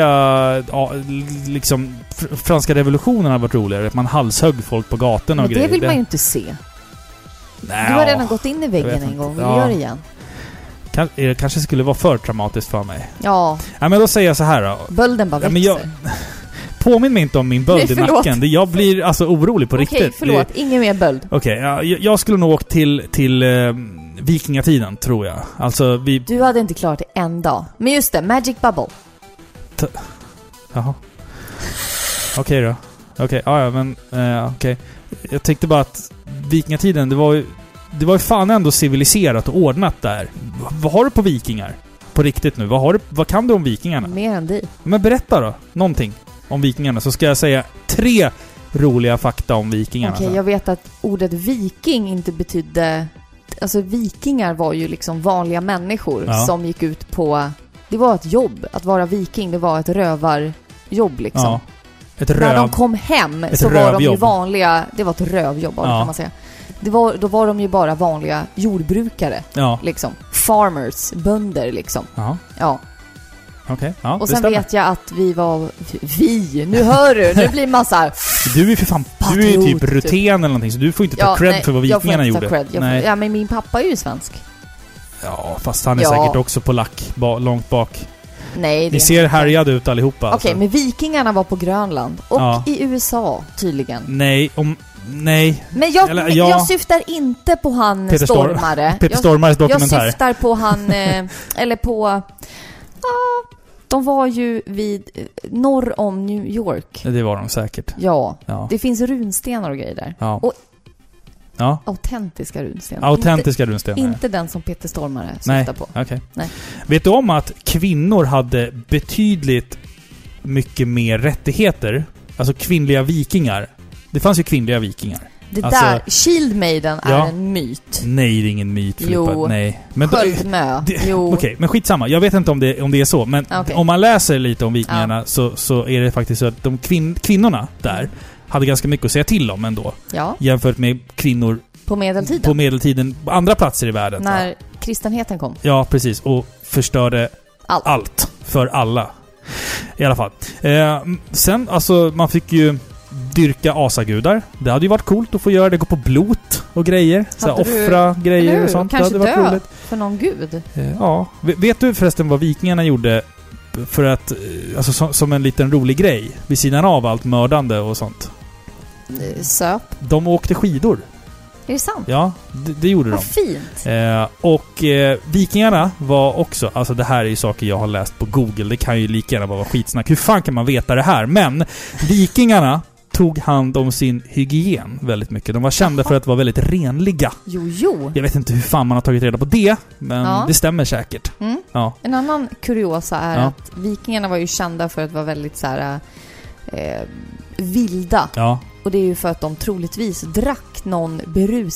Ja, l- liksom... fr- Franska revolutionen har varit roligare. Att man halshögg folk på gatorna
Men
och
det
grejer.
vill man ju inte se.
Nej,
Du har
ja.
redan gått in i
Jag
väggen
vet
en gång,
inte.
vill
Ja.
du göra det igen?
Kan, eh, det kanske skulle vara för traumatiskt för mig.
Ja,
Nej men då säger jag så här då.
bölden bara
Ja,
växer.
men jag- Påminn mig inte om min böld
Nej,
i
förlåt.
nacken. Det- Jag blir alltså orolig på
Okej,
riktigt. Det-
förlåt. Ingen mer böld.
Okej, ja, jag- jag skulle nog åkt till, till eh, vikingatiden, tror jag. Alltså, vi...
Du hade inte klarat det en dag. Men just det, Magic Bubble.
Jaha. Okej då. Okej, ja, ja, men... Eh, Okej. Jag tänkte bara att vikingatiden, det var ju... Det var ju fan ändå civiliserat och ordnat där. V- vad har du på vikingar? På riktigt nu. Vad, har du, vad kan du om vikingarna?
Mer än dig.
Men berätta då. Någonting om vikingarna. Så ska jag säga tre roliga fakta om vikingarna.
Okej, jag vet att ordet viking inte betydde... Alltså vikingar var ju liksom vanliga människor
Ja.
som gick ut på... Det var ett jobb. Att vara viking, det var ett rövarjobb liksom.
Ja. Ett
När de
röv...
kom hem
Ett
så var de ju
rövjobb.
vanliga... Det var ett rövjobb bara,
Ja.
kan man säga. Det var, då var de ju bara vanliga jordbrukare,
Ja.
liksom. Farmers, bönder liksom.
Jaha.
Ja.
Okej. Ja,
Och
det
sen
stämmer.
vet jag att vi var... Vi! Nu hör du! Nu blir man så här...
Du är för fan... Du är ju typ
Patriot, typ.
ruten eller någonting, så du får inte ta cred
nej,
för vad
jag får
vikingarna
inte ta
gjorde.
Cred. Jag
nej.
Får, ja, men min pappa är ju svensk.
Ja, fast han är
Ja.
säkert också polack, ba, långt bak.
Nej, det
Ni ser härjade ut allihopa. alltså.
Okej, men vikingarna var på Grönland. Och
Ja.
i USA, tydligen.
Nej, om... Nej.
Men jag,
Eller,
men
ja.
jag syftar inte på han
Peter Storm-
Stormare.
Peter Stormares
jag, jag
dokumentär.
syftar på han... Eh, eller på... ja, de var ju vid... eh, Norr om New York.
Det var de säkert.
Ja.
Ja.
Det finns runstenar och grejer där.
Ja.
och-
ja.
Autentiska runstenar.
Autentiska runstenar.
Inte, inte den som Peter Stormare syftar
Nej.
på.
Okej.
Nej.
Vet du om att kvinnor hade betydligt mycket mer rättigheter? Alltså kvinnliga vikingar. Det fanns ju kvinnliga vikingar.
Det
Alltså-
där, Shield Maiden
Ja.
är en myt.
Nej, det är ingen myt
Jo.
Filippa. Nej. Men då-
Sköldmö.
det-
Jo.
Okej, men skitsamma. Jag vet inte om det, om det är så, men
Okej.
om man läser lite om vikingarna så, så är det faktiskt så att de kvin, kvinnorna där
Mm.
hade ganska mycket att säga till om ändå.
Ja,
Jämfört med kvinnor
på medeltiden.
på medeltiden, på andra platser i världen.
när kristenheten kom.
Ja, precis. Och förstörde
Allt.
allt för alla. I alla fall. Eh, sen, alltså, man fick ju dyrka asagudar. Det hade ju varit coolt att få göra det. Gå på blot och grejer. Så här,
Hade du-
offra grejer
Eller hur?
och sånt. Det
Kanske
hade varit
dö.
roligt.
För någon gud.
Eh, Ja. V- Vet du förresten vad vikingarna gjorde för att, eh, alltså som, som en liten rolig grej, vid sidan av allt mördande och sånt?
Eh, Söp.
De åkte skidor.
Är det sant?
Ja, det, det gjorde de.
Vad fint.
Eh, och eh, vikingarna var också, alltså det här är ju saker jag har läst på Google, det kan ju lika gärna bara vara skitsnack. Hur fan kan man veta det här? Men vikingarna tog hand om sin hygien väldigt mycket. De var kända för att vara väldigt renliga.
Jo, jo.
Jag vet inte hur fan man har tagit reda på det, men
Ja.
det stämmer säkert.
Mm.
Ja.
En annan kuriosa är
Ja.
att vikingarna var ju kända för att vara väldigt så här eh, vilda.
Ja.
Och det är ju för att de troligtvis drack någon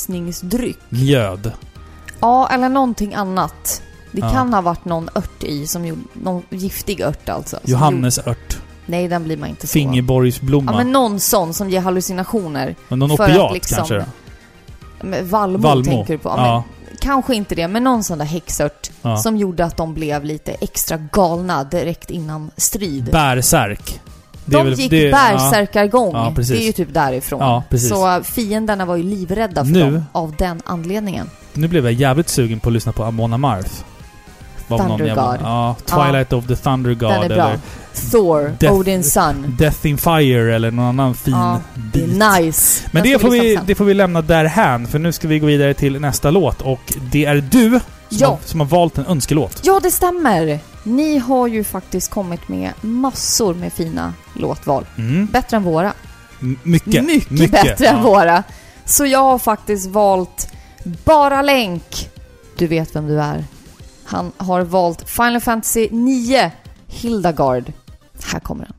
berusningsdryck.
Mjöd.
Ja, eller någonting annat. Det
Ja.
kan ha varit någon ört i som gjorde, någon giftig ört alltså. som Gjorde,
Johannesört.
nej, den blir man inte så.
Fingerborgsblomma.
Ja, men någon sån som ger hallucinationer.
men någon
för att
opiat
liksom-
kanske? då?
Men Vallmo,
Vallmo.
tänker du på? Ja,
Ja.
Men, kanske inte det, men någon sån där häxört
Ja.
som gjorde att de blev lite extra galna direkt innan strid.
Bärsärk. Det är
de
väl-
gick
det-
bärsärkargång.
Ja, precis.
det är ju typ därifrån.
Ja, precis.
Så fienderna var ju livrädda för
Nu-
dem av den anledningen.
Ja. Nu blev jag jävligt sugen på att lyssna på Amona Marth. Av någon
Thunder
jävla,
God.
ja, Twilight of the Thunder God
Den är bra.
eller
Thor,
Death-
Odins son.
Death in Fire eller någon annan fin
Ja, Det
bit.
är nice.
Men
Den
det
ska
får, vi,
lyssna på sen.
det får vi lämna därhän, för nu ska vi gå vidare till nästa låt och det är du som,
Ja.
har, som har valt en önskelåt.
Ja, det stämmer. Ni har ju faktiskt kommit med massor med fina låtval.
Mm.
Bättre än våra.
M- Mycket.
Mycket, bättre än våra. Så jag har faktiskt valt Bara Länk. Du vet vem du är. Han har valt Final Fantasy 9, Hildagard. Här kommer den.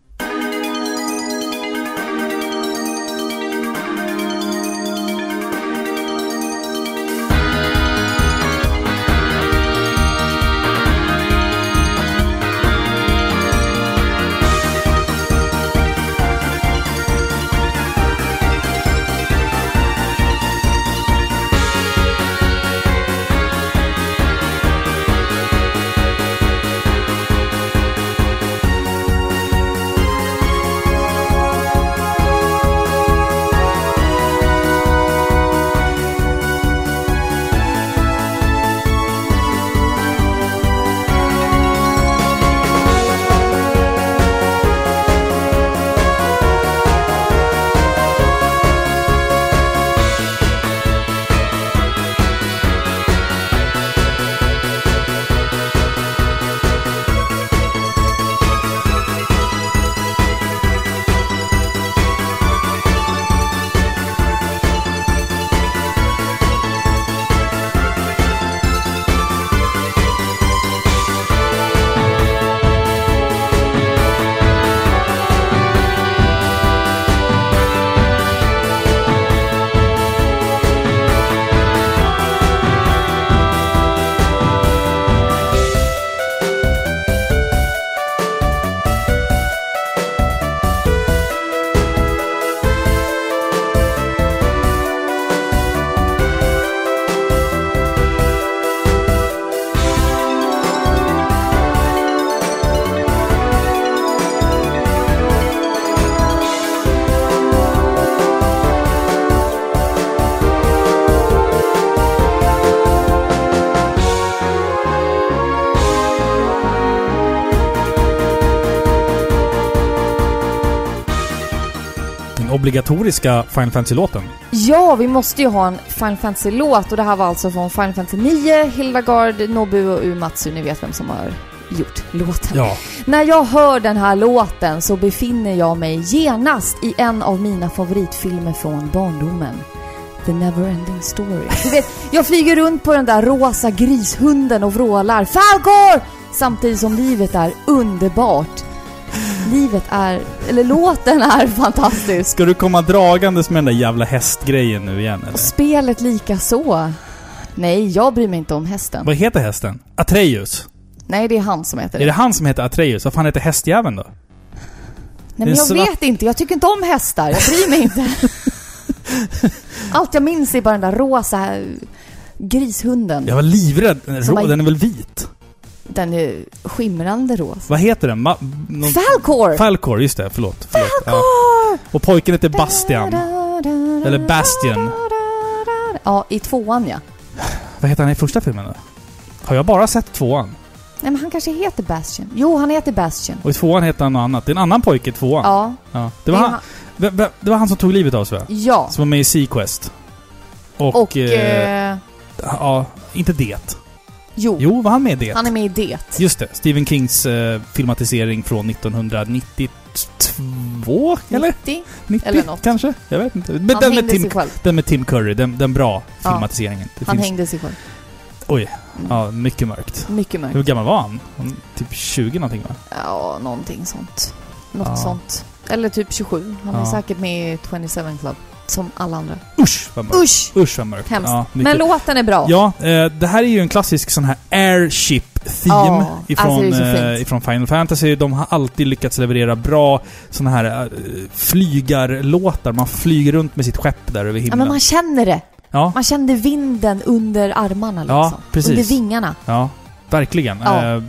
Den obligatoriska Final Fantasy-låten.
Ja, vi måste ju ha en Final Fantasy-låt och det här var alltså från Final Fantasy 9, Hildagard, Nobu och Uematsu. Ni vet vem som har gjort låten.
Ja.
När jag hör den här låten så befinner jag mig genast i en av mina favoritfilmer från barndomen. The Neverending Story. Du vet, jag flyger runt på den där rosa grishunden och vrålar Falcor! Samtidigt som livet är underbart. Livet är, eller låten är fantastisk.
Ska du komma dragandes med den där jävla hästgrejen nu igen eller?
Och spelet lika så. Nej, jag bryr mig inte om hästen.
Vad heter hästen? Atreus.
Nej, det är han som heter
Är
det.
det han som heter Atreus? Vad fan heter hästjäveln då?
Nej,
det är
men jag
svart-
vet inte. Jag tycker inte om hästar. Jag bryr mig inte. Allt jag minns är bara den där rosa eh, grishunden.
Jag var livrädd. Den är
Som
rå-
bara-
Den är väl vit?
Den är skimrande rosa.
Vad heter den? Ma- någon...
Falcor! Ah!
Falcor, just det. Förlåt. förlåt. Ja.
Falcor!
Och pojken heter Bastian. Eller Bastion.
Ja, i tvåan ja.
Vad heter han i första filmen då? Har jag bara sett tvåan?
Nej, men han kanske heter Bastion. Jo, han heter Bastion.
Och i tvåan heter han något annat. Det är en annan pojke i tvåan.
Ja.
Ja. Det, var han, v- v- det var han som tog livet av sig va?
Ja.
Som var med i Sequest. Och...
Och...
eh,
Eh,
ja, inte det.
jo,
Jo, var han med i det?
han är med i Det.
Just det. Stephen Kings eh, filmatisering från 1992, eller?
90.
90
Mm. Eller något.
kanske? Jag vet inte. Men
Han
den med,
hängde
Tim,
sig själv.
den med Tim Curry, den, den bra
Ja.
filmatiseringen. Det
Han
finns,
hängde sig själv.
Ja, mycket mörkt.
Mycket
Hur
mörkt.
gammal var han? han typ 20 någonting va?
Ja, någonting sånt. Något
Ja.
sånt. Eller typ 27. Han är
Ja.
säkert med i 27 Club. Som alla andra.
Usch vad mörkt.
Usch!
Usch vad mörkt.
Hemskt.
Ja, mycket-
Men låten är bra.
Ja, eh, det här är ju en klassisk sån här airship-theme
Ja,
ifrån,
alltså det är så
eh,
fint.
ifrån Final Fantasy. De har alltid lyckats leverera bra såna här eh, flygarlåtar. Man flyger runt med sitt skepp där över
Ja,
himlen.
men man känner det.
Ja,
Man kände vinden under armarna liksom.
Ja, precis.
Under vingarna.
ja, verkligen.
Ja.
Eh,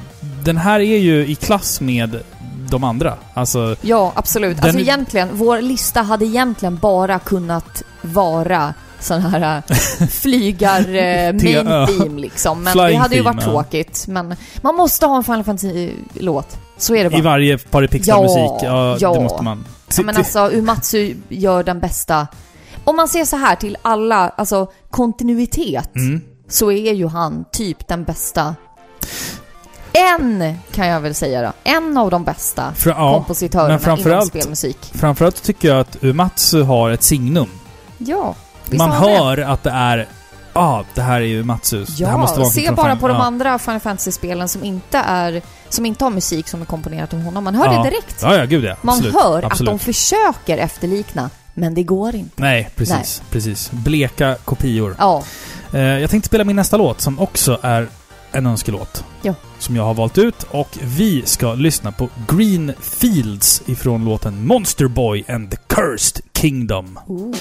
Den här är ju i klass med de andra. Alltså,
Ja, absolut.
Den
Alltså
är-
egentligen, vår lista hade egentligen bara kunnat vara sån här äh, flygar äh, main theme liksom. Men det
Flying
hade ju
theme,
varit
ja.
tråkigt. Men man måste ha en Final Fantasy-låt. Så är det
I
bara.
varje Pari Pixar-musik. Ja,
ja.
det måste man.
Ja, men alltså, Umatsu gör den bästa... Om man ser så här till alla, alltså kontinuitet,
Mm.
så är ju han typ den bästa. En, kan jag väl säga då. En av de bästa
Fra- ja. men
kompositörerna
framför
inom
allt-
spelmusik.
Framförallt tycker jag att Umatsu har ett signum.
Ja, visst
man
har han det?
hör att det är... Ja, ah, det här är ju Umatsu. det här
Ja,
måste vara
se
från
bara
fram-
på de
ja.
andra Final Fantasy-spelen som inte är... Som inte har musik som är komponerat av honom. Man hör
Ja.
det direkt.
Ja, ja, gud ja.
Man
Absolut.
hör
Absolut.
att de försöker efterlikna, men det går inte.
Nej, precis. Precis. Bleka kopior.
Ja,
Eh, jag tänkte spela min nästa låt som också är en önskelåt.
Ja.
Som jag har valt ut och vi ska lyssna på Green Fields ifrån låten Monster Boy and the Cursed Kingdom.
Ooh.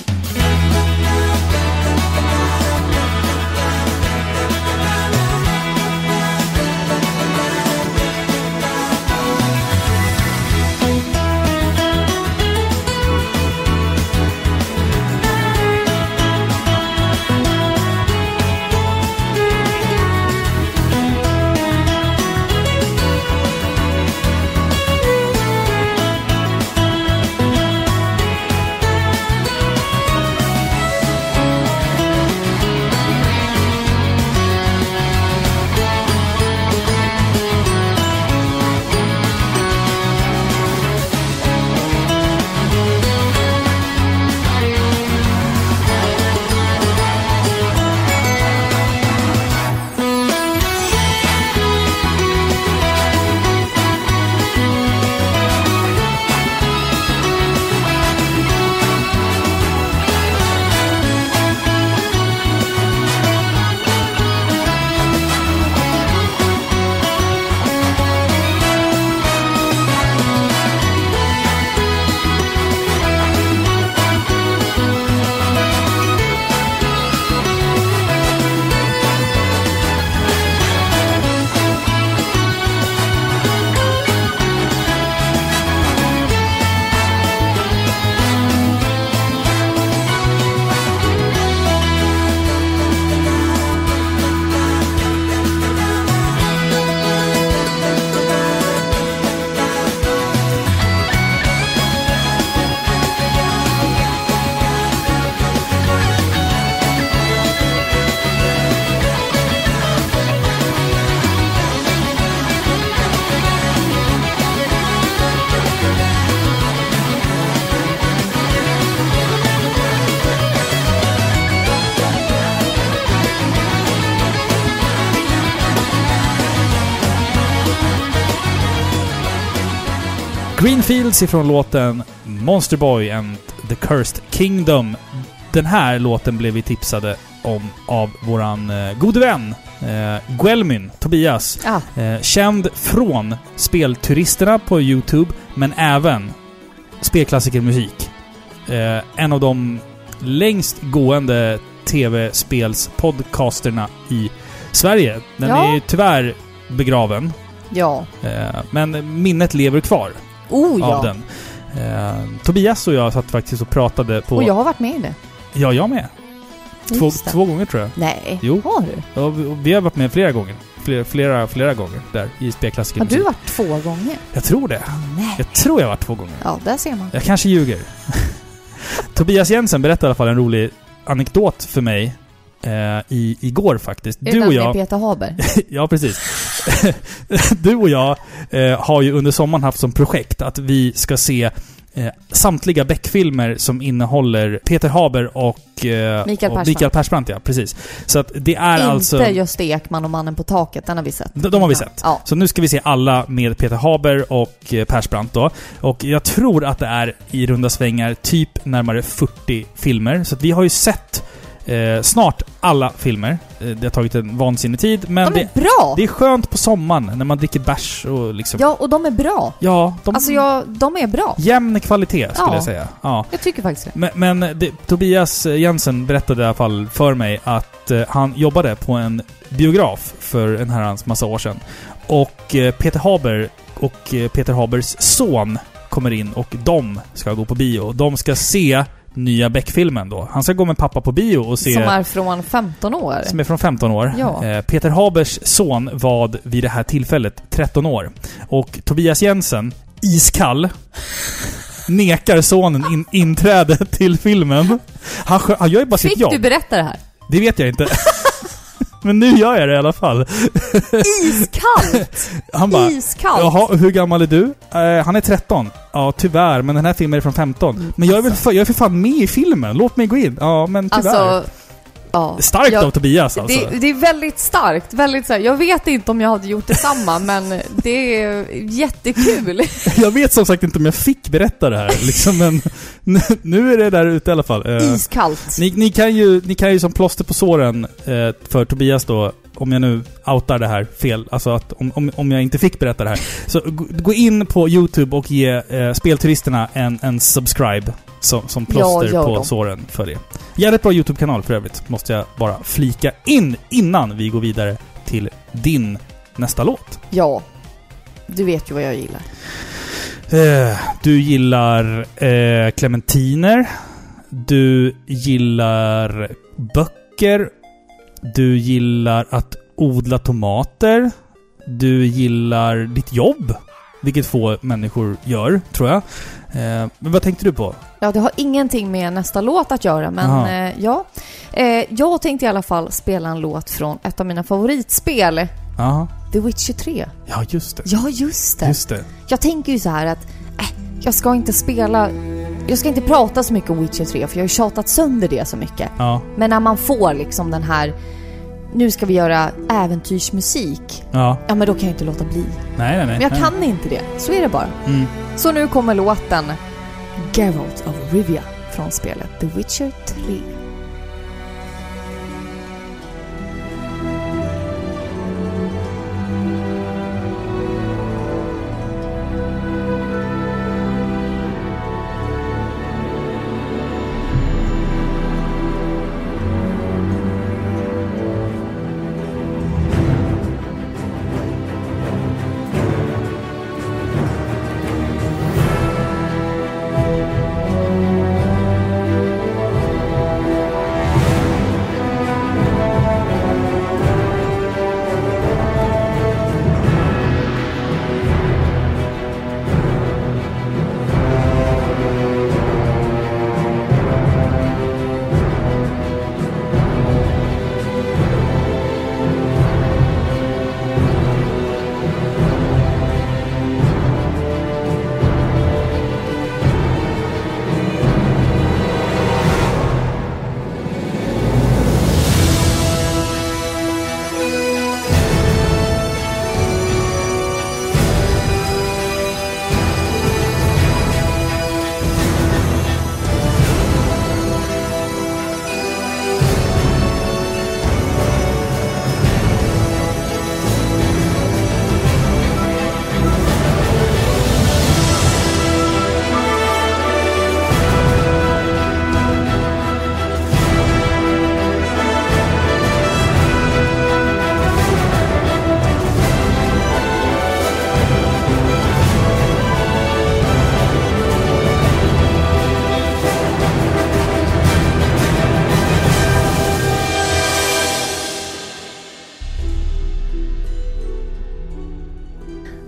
Green Fields ifrån låten Monster Boy and the Cursed Kingdom. Den här låten blev vi tipsade om av våran eh, gode vän eh, Guelmin, Tobias.
Ah,
Eh, känd från spelturisterna på YouTube, men även spelklassikermusik. Eh, en av de längst gående tv-spelspodcasterna i Sverige. Den
Ja.
är ju tyvärr begraven,
ja.
eh, men minnet lever kvar
Oh
av
ja.
den. Eh, Tobias och jag satt faktiskt och pratade på...
Och jag har varit med i det.
Ja, jag med. Två,
Just det.
två gånger tror jag.
Nej,
Jo.
har du?
Ja, vi- och vi har varit med flera gånger. Flera, flera, flera gånger där i
Har
spelklassikermusik.
du varit två gånger?
Jag tror det.
Nej.
Jag tror jag varit två gånger.
Ja, där ser man.
Jag kanske ljuger. Tobias Jensen berättade i alla fall en rolig anekdot för mig eh, i, igår faktiskt.
Är det
Du och
den med
jag...
Peter Haber?
ja, precis. du och jag eh, har ju under sommaren haft som projekt att vi ska se eh, samtliga Beck-filmer som innehåller Peter Haber och, eh, och
Mikael Persbrandt.
Mikael Persbrandt. Ja, precis. Så att det är
Inte
alltså...
Gösta Ekman och Mannen på taket, den har vi sett.
De- de har vi sett.
Ja.
Så nu ska vi se alla med Peter Haber och eh, Persbrandt då. Och jag tror att det är i runda svängar typ närmare 40 filmer. Så att vi har ju sett eh, snart alla filmer. Eh, det har tagit en vansinnig tid, men
De
det,
är bra!
det är skönt på sommaren när man dricker bärs och liksom...
Ja, och de är bra.
Ja, de...
Alltså, jag, de är bra.
Jämn kvalitet skulle
Ja.
jag säga. Ja.
Jag tycker faktiskt det.
Men, men det, Tobias Jensen berättade i alla fall för mig att eh, han jobbade på en biograf för en herrans massa år sedan. Och eh, Peter Haber och eh, Peter Habers son kommer in och de ska gå på bio. De ska se nya Beck-filmen då. Han ska gå med pappa på bio och se...
Som är från 15 år.
som är från 15 år.
Ja.
Eh, Peter Habers son var vid det här tillfället 13 år. Och Tobias Jensen, iskall, nekar sonen in, inträde till filmen. Han, skö- han gör ju bara
Fick
sitt jobb.
du berätta det här?
Det vet jag inte. Men nu gör jag det i alla fall.
Iskallt!
Han bara...
Iskallt!
Jaha, hur gammal är du? Eh, han är 13. Ja, tyvärr, men den här filmen är från 15.
Mm,
Men jag är, väl för, jag är för fan med i filmen, låt mig gå in. Ja, men tyvärr.
Alltså, ja.
Starkt
Jag-
av Tobias alltså.
Det, det är väldigt starkt. Väldigt så här, jag vet inte om jag hade gjort detsamma, men det är jättekul.
Jag vet som sagt inte om jag fick berätta det här, liksom, men nu- nu är det där ute i alla fall. Eh,
Iskallt.
ni, ni, kan ju, ni kan ju som plåster på såren eh, för Tobias då, om jag nu outar det här fel, alltså att om, om, om jag inte fick berätta det här. Så gå- gå in på YouTube och ge eh, spelturisterna en, en subscribe som, som plåster
Ja, gör
på
dem.
såren för det. Jävligt bra YouTube-kanal för övrigt, måste jag bara flika in innan vi går vidare till din nästa låt.
Ja. Du vet ju vad jag gillar.
Eh, Du gillar eh, clementiner. Du gillar böcker. Du gillar att odla tomater. Du gillar ditt jobb. Vilket få människor gör, tror jag. Eh, Men vad tänkte du på?
Ja, det har ingenting med nästa låt att göra, men
Aha.
eh, ja. Eh, jag tänkte i alla fall spela en låt från ett av mina favoritspel,
Aha.
The Witcher 3.
Ja, just det.
Ja, just det.
Just det.
Jag tänker ju så här att äh, jag ska inte spela... Jag ska inte prata så mycket om Witcher 3 för jag har ju tjatat sönder det så mycket.
Ja.
Men när man får liksom den här... Nu ska vi göra äventyrsmusik.
ja.
Ja, men då kan jag inte låta bli.
Nej, nej, nej.
Men jag
nej.
kan inte det. Så är det bara.
Mm.
Så nu kommer låten Geralt of Rivia från spelet The Witcher 3.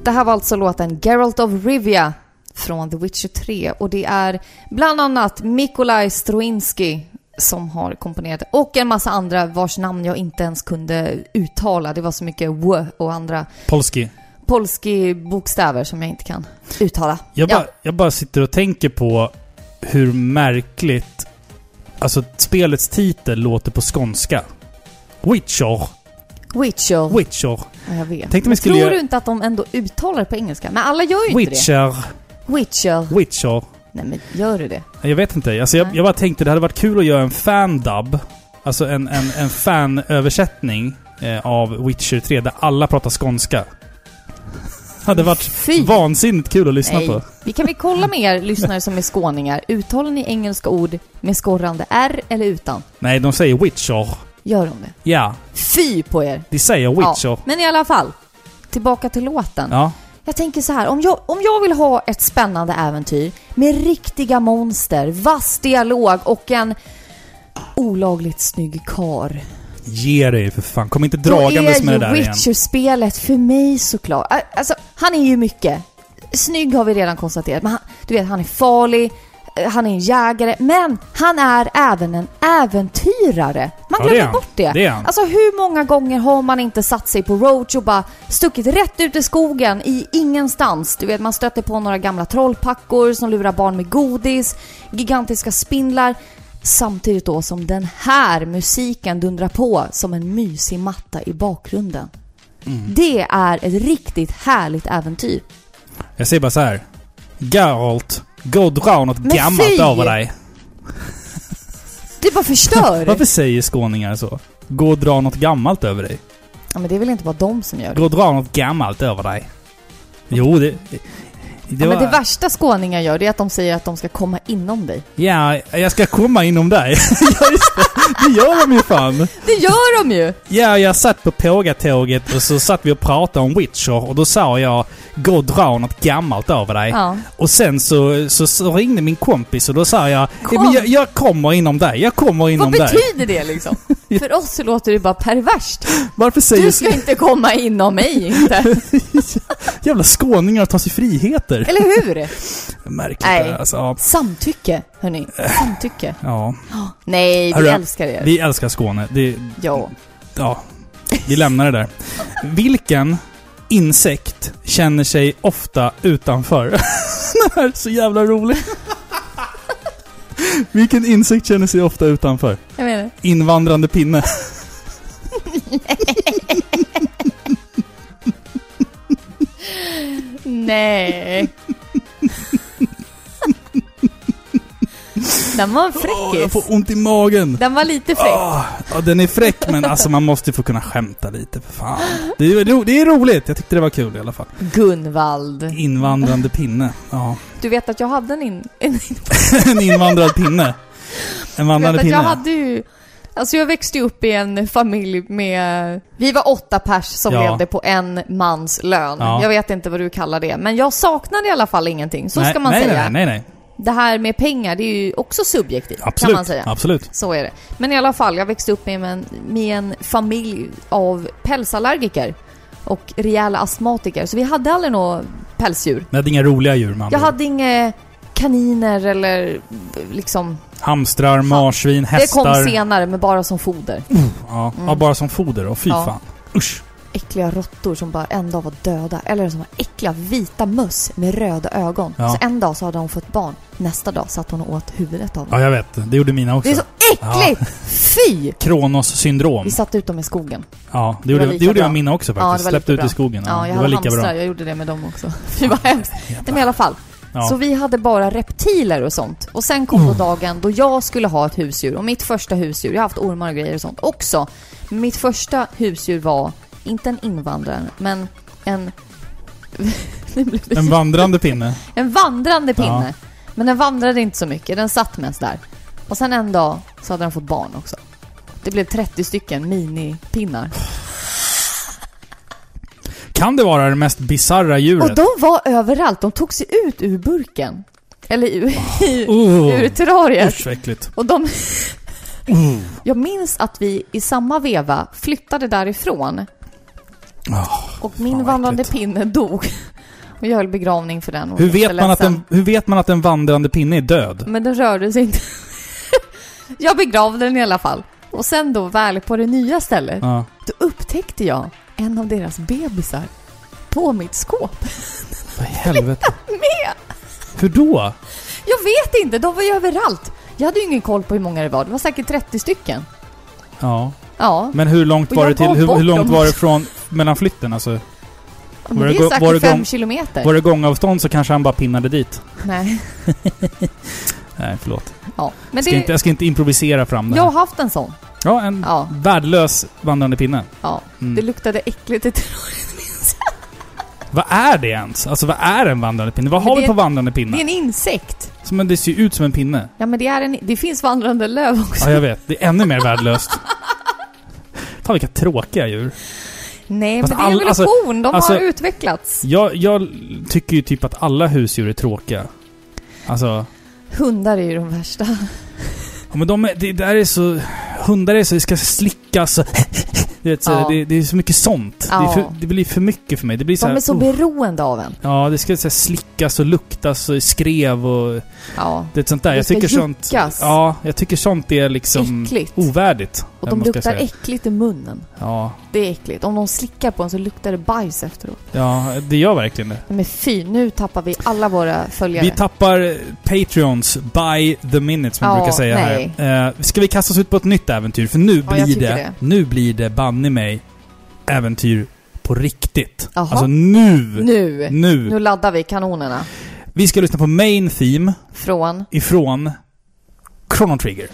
Det här var alltså låten Geralt of Rivia från The Witcher 3 och det är bland annat Mikolaj Stroinski som har komponerat det. och en massa andra vars namn jag inte ens kunde uttala. Det var så mycket w och andra
Polski.
polski bokstäver som jag inte kan uttala.
Jag
Ja.
bara, jag bara sitter och tänker på hur märkligt... Alltså, spelets titel låter på skånska. Witcher.
Witcher.
Witcher.
Ja, jag vet.
Tänkte vi
Men
skulle
Tror
göra-
du inte att de ändå uttalar det på engelska? Men alla gör ju inte
Witcher.
det. Witcher.
Witcher.
Nej men gör du det?
Jag vet inte. Alltså, jag,
Nej.
jag bara tänkte det hade varit kul att göra en fan-dub. Alltså en, en, en fanöversättning eh, av Witcher 3 där alla pratar skånska. hade varit
Fy!
vansinnigt kul att lyssna
Nej.
på.
Vi kan vi kolla med er lyssnare som är skåningar. Uttalar ni engelska ord med skorrande R eller utan?
Nej, de säger Witcher.
Gör de det?
Ja,
Fy på er!
de säger Witcher.
Ja. Men i alla fall, tillbaka till låten.
Ja.
Jag tänker så här, om jag, om jag vill ha ett spännande äventyr med riktiga monster, vass dialog och en olagligt snygg kar.
Ge dig för fan. Kom inte
Då är
dragandes med det
ju
där igen.
Witcher-spelet för mig såklart. Ä- Alltså, han är ju mycket. Snygg har vi redan konstaterat, men han, du vet, han är farlig, eh, han är en jägare, men han är även en äventyrare. Man
Ja, det är
glömmer
han.
bort det.
Det är han.
Alltså hur många gånger har man inte satt sig på roach och bara stuckit rätt ut i skogen i ingenstans? Du vet, man stöter på några gamla trollpackor som lurar barn med godis, gigantiska spindlar. Samtidigt då som den här musiken dundrar på som en mysig matta i bakgrunden. Det är ett riktigt härligt äventyr.
Jag säger bara så här. Geralt, gå och dra något
Men
gammalt
fy!
över dig.
Du bara förstör!
Varför säger skåningar så? Gå och dra något gammalt över dig.
ja, men det är väl inte bara de som gör det?
Gå och dra något gammalt över dig. Jo, det... Det,
ja,
var,
men det värsta skåningar gör det är att de säger att de ska komma inom dig.
Ja, jag ska komma inom dig. ja, just det. Det gör de ju fan.
Det gör de ju!
Ja, jag satt på Pågatåget och så satt vi och pratade om Witcher och då sa jag gå och dra något gammalt över dig.
Ja.
Och sen så, så, så ringde min kompis och då sa jag "Ja, men jag, jag kommer inom dig, jag kommer
Vad
inom dig.
betyder det liksom? För oss så låter det bara perverst.
Varför säger
Du ska inte komma inom mig inte.
jävla skåningar att ta sig friheter?
Eller hur?
Märkligt
Nej.
det, alltså. ja.
Samtycke, hörni. Samtycke.
Ja.
Nej, vi
Hörru,
älskar er.
Vi älskar Skåne. Det,
Ja.
ja. Vi lämnar det där. Vilken insekt känner sig ofta utanför? det här är så jävla roligt. Vilken insekt känner sig ofta utanför?
Jag menar.
Invandrande pinne.
Nej. Den var en
Åh, jag
fräckis.
får ont i magen.
Den var lite fräck.
Åh, Ah, ja, den är fräck men alltså man måste ju få kunna skämta lite för fan. Det är, ro- det är roligt. Jag tyckte det var kul i alla fall.
Gunvald.
Invandrande pinne. Ja.
Du vet att jag hade en... In... en
En invandrad pinne. En
du vet
vandrande
att
pinne.
jag hade ju... Alltså jag växte ju upp i en familj med... Vi var åtta pers som
Ja.
levde på en mans lön.
Ja.
Jag vet inte vad du kallar det. Men jag saknade i alla fall ingenting. Så
nej,
ska man
nej,
säga.
Nej, nej, nej.
Det här med pengar, det är ju också subjektivt
Absolut.
kan man säga.
Absolut.
Så är det. Men i alla fall, jag växte upp med en, med en familj av pälsallergiker och rejäla astmatiker. Så vi hade aldrig några pälsdjur.
Men jag hade inga roliga djur man.
Jag hade inga kaniner eller liksom...
Hamstrar, marsvin, hästar.
Det kom senare, men bara som foder.
Ja, ja, bara som foder. Och fy
Ja.
fan. Usch.
Äckliga råttor som bara en dag var döda. Eller som var äckliga vita möss med röda ögon.
Ja.
Så en dag så hade hon fått barn. Nästa dag satt hon och åt huvudet av dem.
Ja, jag vet. Det gjorde mina också.
Det är så äckligt! Fy!
Kronos syndrom.
Vi satte ut dem i skogen.
Ja, det
Det var
gjorde, det
lika
gjorde jag
bra.
mina också
Ja, det
faktiskt.
var
Släppte
lika
ut i
bra.
skogen.
Ja, jag
det var
hade
lika
hamstrar.
bra.
Jag gjorde det med dem också. Fy vad hemskt. Nej, Men i alla fall.
Ja. Mm.
Så vi hade bara reptiler och sånt. Och sen kom då dagen då jag skulle ha ett husdjur. Och mitt första husdjur, jag har haft ormar och grejer och sånt också. Men mitt första husdjur var, inte en invandrare, men en... Nu blev det-
En vandrande pinne.
en vandrande pinne. Men den vandrade inte så mycket, den satt mest där. Och sen en dag så hade den fått barn också. Det blev 30 stycken minipinnar.
Kan det vara det mest bisarra
Och
djuret?
de var överallt, de tog sig ut ur burken. Eller ur,
Oh,
ur terrariet.
usch vad äckligt.
Och de... Jag minns att vi i samma veva flyttade därifrån.
Ah,
Och
fan
min
vad
vandrande
äckligt.
pinne dog. Och jag höll begravning för den. och
Hur
var
vet, man att
jätteledsen.
en, hur vet man att en vandrande pinne är död?
Men den rörde sig inte. jag begravde den i alla fall. Och sen då väl på det nya stället,
Ja.
då upptäckte jag en av deras bebisar på mitt skåp.
Vad i helvete? Hur då?
Jag vet inte, de var ju överallt. Jag hade ju ingen koll på hur många det var. Det var säkert 30 stycken.
Ja.
Ja,
Men hur långt
Och
var det
jag
till...
gav
Hur,
bort
hur långt
dem.
var det från... Mellan flytten alltså?
men
Var
det
det
är
gå- var det
säkert fem
gång-
kilometer.
Var det gångavstånd så kanske han bara pinnade dit.
Nej.
Nej, förlåt.
Ja, men
Ska
det...
inte, jag ska inte improvisera fram det
Jag har
här. Mm.
haft en sån.
Ja, en
Ja.
värdelös vandrande pinne.
Ja.
Mm.
Det luktade äckligt. i tro-
Vad är det ens? Alltså vad är en vandrande pinne? Vad
Men
har
det
vi
är-
på vandrande pinne?
Det är en insekt.
Som, men det ser ju ut som en pinne.
Ja, men det, är en... det finns vandrande löv också.
Ja, jag vet. Det är ännu mer värdelöst. Fan vilka tråkiga djur.
Nej,
Fast
men det är
all- alltså-
evolution. De
alltså-
har utvecklats.
Jag, jag tycker ju typ att alla husdjur är tråkiga. Alltså...
Hundar är ju de värsta.
Ja, men de är, det där är så... Hundar är så... Det ska slickas och... Du vet, så,
Ja.
det, det är så mycket sånt. Det, är
Ja.
för, det blir för mycket för mig. Det blir så
De
här,
är så
oh,
beroende av en.
Ja, det ska så här, slickas och luktas och skrev och...
Ja.
Det är sånt där.
Det
Jag
ska
tycker sånt...
juckas.
Ja, jag tycker sånt är liksom...
Äckligt.
Ovärdigt.
Och
eller vad
de
man ska
luktar
säga.
äckligt i munnen.
Ja.
Det är äckligt. Om de slickar på en så luktar det bajs efteråt.
Ja, det gör verkligen det.
Nej, Men fy, nu tappar vi alla våra följare.
Vi tappar Patreons by the minute som
Ja,
vi brukar säga
nej.
här. Eh, ska vi kasta oss ut på ett nytt äventyr? För nu
Ja, jag
blir det,
tycker det.
nu blir det banne mig äventyr på riktigt.
Jaha.
Alltså nu,
nu. nu!
nu!
laddar vi kanonerna.
Vi ska lyssna på Main Theme
Från...
ifrån Chrono Trigger.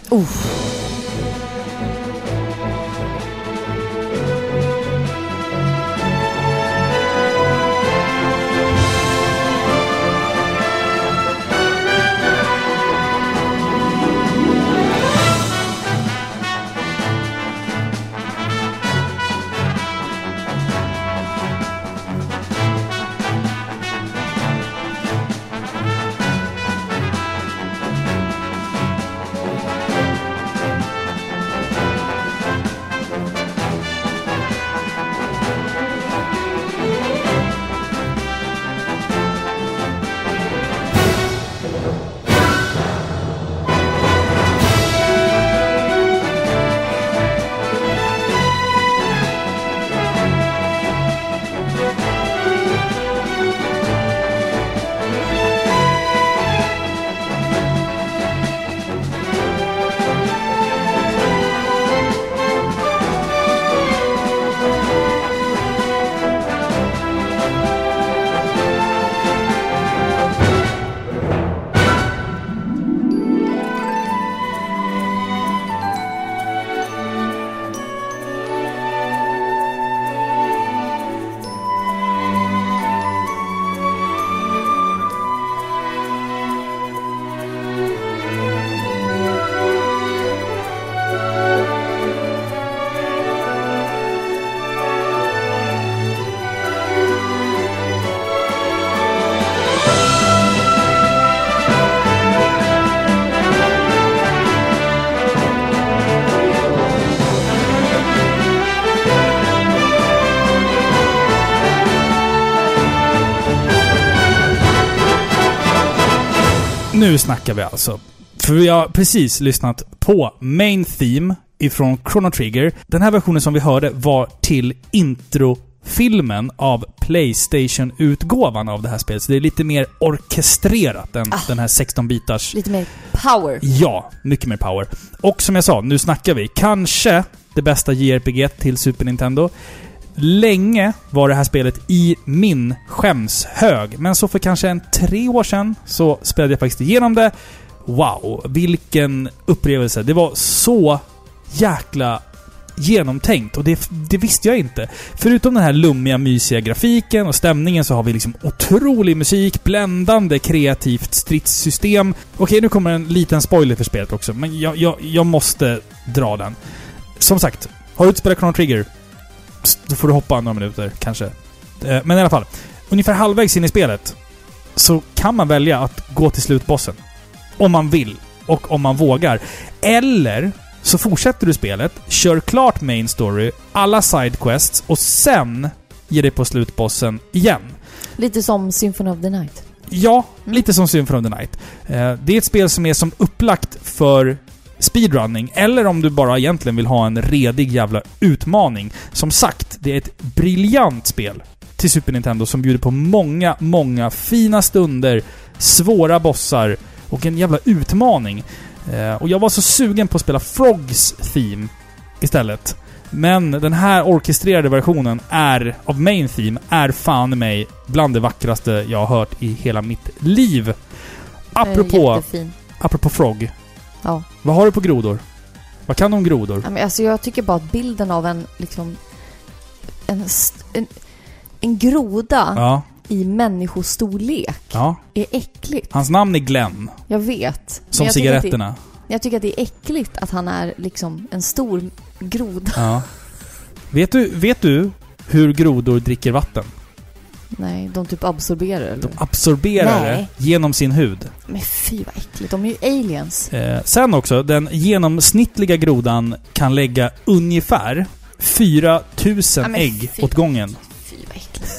Nu snackar vi alltså. För vi har precis lyssnat på Main Theme ifrån Chrono Trigger. Den här versionen som vi hörde var till introfilmen av Playstation-utgåvan av det här spelet. Så det är lite mer orkestrerat än den här 16-bitars...
Lite mer power.
Ja, mycket mer power. Och som jag sa, nu snackar vi. Kanske det bästa JRPG till Super Nintendo. Länge var det här spelet i min skämshög, men så för kanske en tre år sedan så spelade jag faktiskt igenom det. Wow, vilken upplevelse. Det var så jäkla genomtänkt och det, det visste jag inte. Förutom den här lummiga, mysiga grafiken och stämningen så har vi liksom otrolig musik, bländande, kreativt stridssystem. Okej, nu kommer en liten spoiler för spelet också, men jag, jag, jag måste dra den. Som sagt, har du inte spelat Chrono Trigger? Psst, Då får du hoppa några minuter, kanske. Eh, Men i alla fall. Ungefär halvvägs in i spelet så kan man välja att gå till slutbossen. Om man vill och om man vågar. Eller så fortsätter du spelet, kör klart main story, alla sidequests och sen ger dig på slutbossen igen.
Lite som Symphony of the Night.
Ja,
Mm.
lite som Symphony of the Night. Eh, Det är ett spel som är som upplagt för speedrunning, eller om du bara egentligen vill ha en redig jävla utmaning. Som sagt, det är ett briljant spel till Super Nintendo som bjuder på många, många fina stunder, svåra bossar och en jävla utmaning. Eh, Och jag var så sugen på att spela Frogs Theme istället. Men den här orkestrerade versionen är, av Main Theme är fan mig bland det vackraste jag har hört i hela mitt liv.
Den är
Apropå,
Eh, Jättefin.
apropå Frog.
Ja.
Vad har du på grodor? Vad kan du om grodor?
Ja, men Alltså jag tycker bara att bilden av en liksom... En, st- en, en groda
Ja.
i människostorlek
ja.
är äckligt.
Hans namn är Glenn.
Jag vet. Men
Som
jag tycker att det-
cigaretterna.
Jag tycker att det är äckligt att han är liksom en stor groda.
Ja. Vet du, vet du hur grodor dricker vatten.
Nej, de typ absorberar eller?
De absorberar det
Nej.
genom sin hud.
Men fy vad äckligt, de är ju aliens.
Eh, sen också, den genomsnittliga grodan kan lägga ungefär 4000
Ja, men
ägg
fy.
åt gången.
Fy vad äckligt.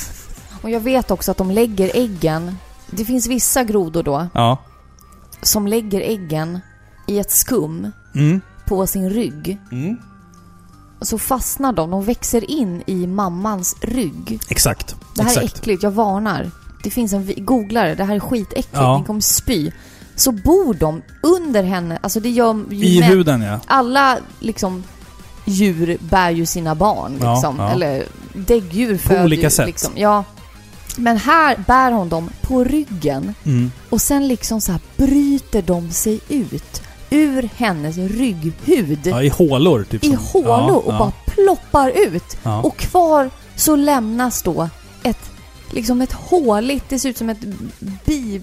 Och jag vet också att de lägger äggen, det finns vissa grodor då,
Ja.
som lägger äggen i ett skum
Mm.
på sin rygg.
Mm.
Så fastnar de, de växer in i mammans rygg.
Exakt.
Det här
Exakt.
är äckligt, jag varnar. Det finns en vi- googlare, det här är skitäckligt,
Ja.
ni kommer spy. Så bor de under henne, alltså det gör ju
I
män-
huden ja.
Alla liksom djur bär ju sina barn
Ja,
liksom.
ja.
Eller däggdjur föder
olika
ju,
sätt.
Liksom. Ja. Men här bär hon dem på ryggen
Mm.
och sen liksom så här bryter de sig ut ur hennes rygghud
ja. I hålor typ.
i
som-
hålor
ja,
och
ja,
bara ploppar ut.
ja.
Och kvar så lämnas då ett, liksom ett håligt, det ser ut som ett bi,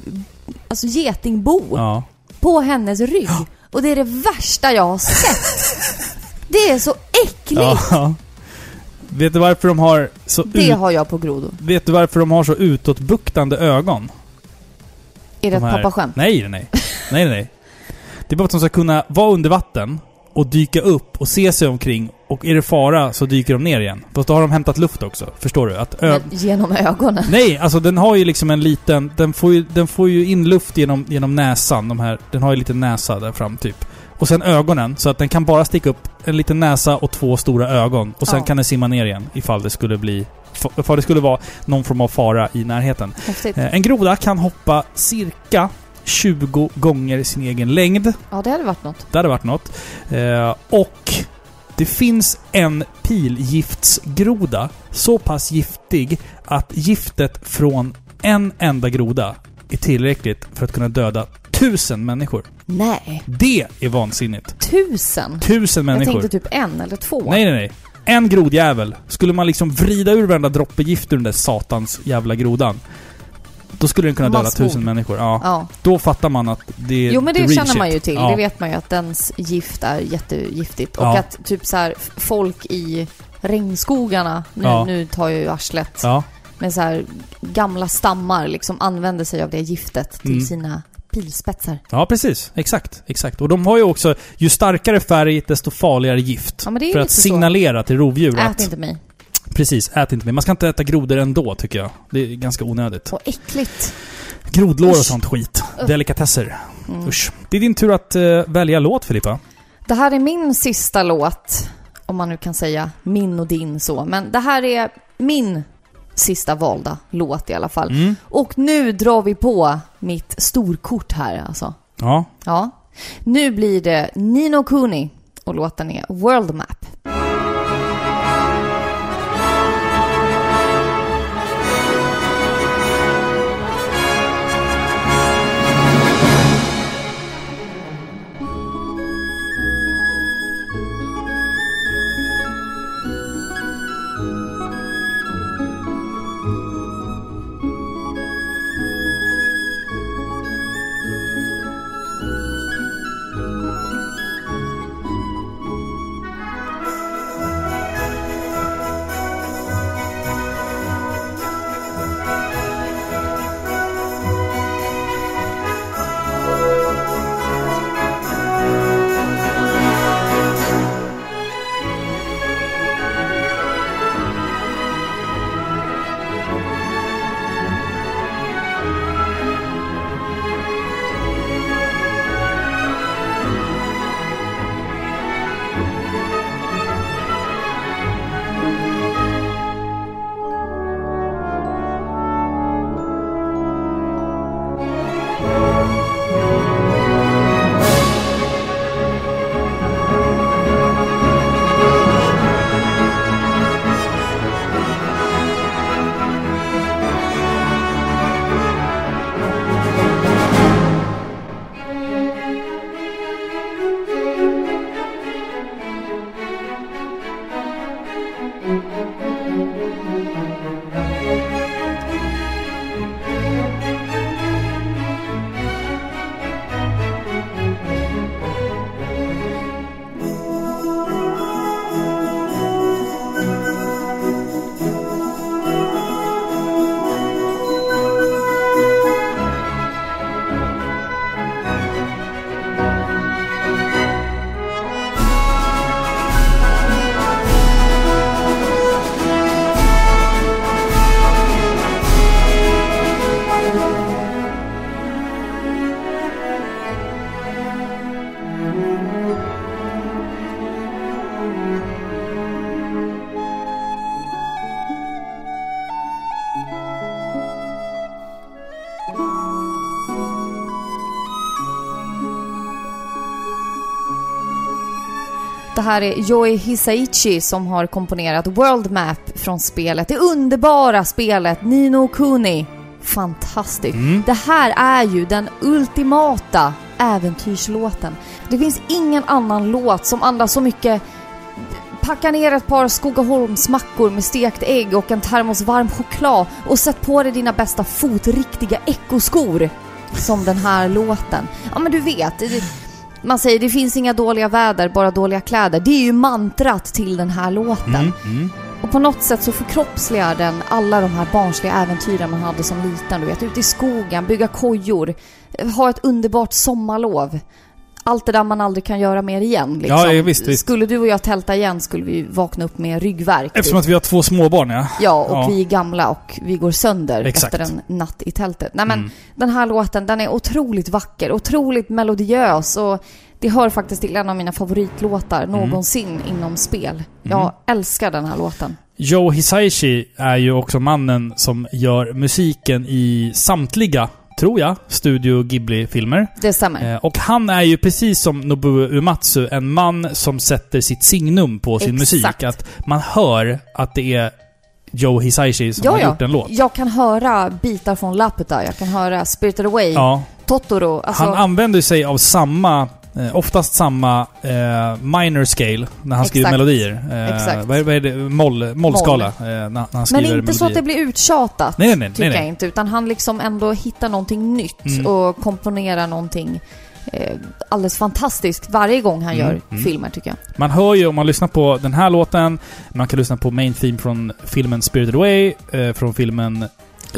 alltså getingbo
Ja.
på hennes rygg. Och det är det värsta jag har sett. Det är så äckligt!
Ja. Vet du varför de har så
Det
ut,
har jag på grodor.
Vet du varför de har så utåtbuktande ögon?
Är det ett
De här-
pappaskämt?
Nej, nej, nej. nej, nej, nej. Det är bara att de ska kunna vara under vatten och dyka upp och se sig omkring och är det fara så dyker de ner igen. Fast då har de hämtat luft också. Förstår du? Att ö-
Men Genom ögonen.
Nej, alltså den har ju liksom en liten... Den får ju, den får ju in luft genom, genom näsan. De här, den har ju en liten näsa där fram typ. Och sen ögonen, så att den kan bara sticka upp en liten näsa och två stora ögon. Och sen
Ja.
kan den simma ner igen ifall det skulle bli... Ifall det skulle vara någon form av fara i närheten.
Häftigt.
Eh, En groda kan hoppa cirka 20 gånger sin egen längd.
Ja, det hade varit något.
Det hade varit något. Eh, Och det finns en pilgiftsgroda så pass giftig att giftet från en enda groda är tillräckligt för att kunna döda tusen människor.
Nej.
Det är vansinnigt.
Tusen?
Tusen
Jag
människor.
tänkte typ en eller två.
Nej, nej, nej. En grodjävel. Skulle man liksom vrida ur varenda droppe gift ur den där satans jävla grodan. Då skulle den kunna döda
Massmord.
tusen människor. Ja.
Ja.
Då fattar man att det är
Jo men
the
det
real
känner man
shit.
ju till.
Ja.
Det vet man ju att dens gift är jättegiftigt. Och
Ja.
att typ så här, f- folk i regnskogarna, nu,
Ja.
nu tar jag ju arslet,
Ja.
med så här gamla stammar liksom använder sig av det giftet till
Mm.
sina pilspetsar.
ja, precis. Exakt. Exakt. Och de har ju också, ju starkare färg, desto farligare gift.
Ja, men det är ju
för att
lite så.
signalera till rovdjur
Ät
att...
inte mig.
Precis, ät inte mer. Man ska inte äta grodor ändå, tycker jag. Det är ganska onödigt.
Så äckligt.
Grodlår och
Usch.
sånt skit.
Usch.
Delikatesser.
Mm.
Usch. Det är din tur att eh, välja låt, Filippa.
Det här är min sista låt, om man nu kan säga min och din så. Men det här är min sista valda låt i alla fall.
Mm.
Och nu drar vi på mitt storkort här alltså.
Ja.
Ja. Nu blir det Nino Kuni och låten är World Map. Det här är Yoi Hisaichi som har komponerat World Map från spelet. Det underbara spelet Nino Kuni. Fantastiskt.
Mm.
Det här är ju den ultimata äventyrslåten. Det finns ingen annan låt som andas så mycket Packa ner ett par Skogaholmsmackor med stekt ägg och en termos varm choklad och sätt på dig dina bästa fotriktiga ekoskor. Som den här låten. Ja men du vet, det- man säger det finns inga dåliga väder, bara dåliga kläder. Det är ju mantrat till den här låten.
Mm, mm.
Och på något sätt så förkroppsligar den alla de här barnsliga äventyren man hade som liten. Du vet, ute i skogen, bygga kojor, ha ett underbart sommarlov. Allt det där man aldrig kan göra mer igen. Liksom.
Ja, ja, visst, visst.
Skulle du och jag tälta igen skulle vi vakna upp med ryggvärk. typ.
Eftersom att vi har två småbarn ja.
Ja, och
Ja.
vi är gamla och vi går sönder
Exakt.
efter en natt i tältet. Nej men,
Mm.
den här låten den är otroligt vacker, otroligt melodiös och det hör faktiskt till en av mina favoritlåtar
Mm.
någonsin inom spel. Jag älskar den här låten.
Joe Hisaishi är ju också mannen som gör musiken i samtliga, tror jag, Studio Ghibli-filmer.
Det stämmer.
Eh, Och han är ju precis som Nobuo Uematsu en man som sätter sitt signum på sin
Exakt.
musik. Att man hör att det är Joe Hisaishi som har gjort en låt.
Jag kan höra bitar från Laputa, jag kan höra Spirited Away,
Ja,
Totoro. Alltså,
han använder sig av samma, eh, oftast samma eh, minor scale när han skriver
Exakt.
melodier. Eh,
Exakt.
Vad är, vad är det? Moll, mollskala eh, när, när han skriver
men inte
melodier.
så att det blir uttjatat,
Nej, nej, nej.
tycker
nej,
jag
nej.
inte. Utan han liksom ändå hittar någonting nytt
Mm.
och komponerar någonting eh, alldeles fantastiskt varje gång han
Mm,
gör
mm.
filmer, tycker jag.
Man hör ju om man lyssnar på den här låten, man kan lyssna på main theme från filmen Spirited Away, eh, från filmen... eh,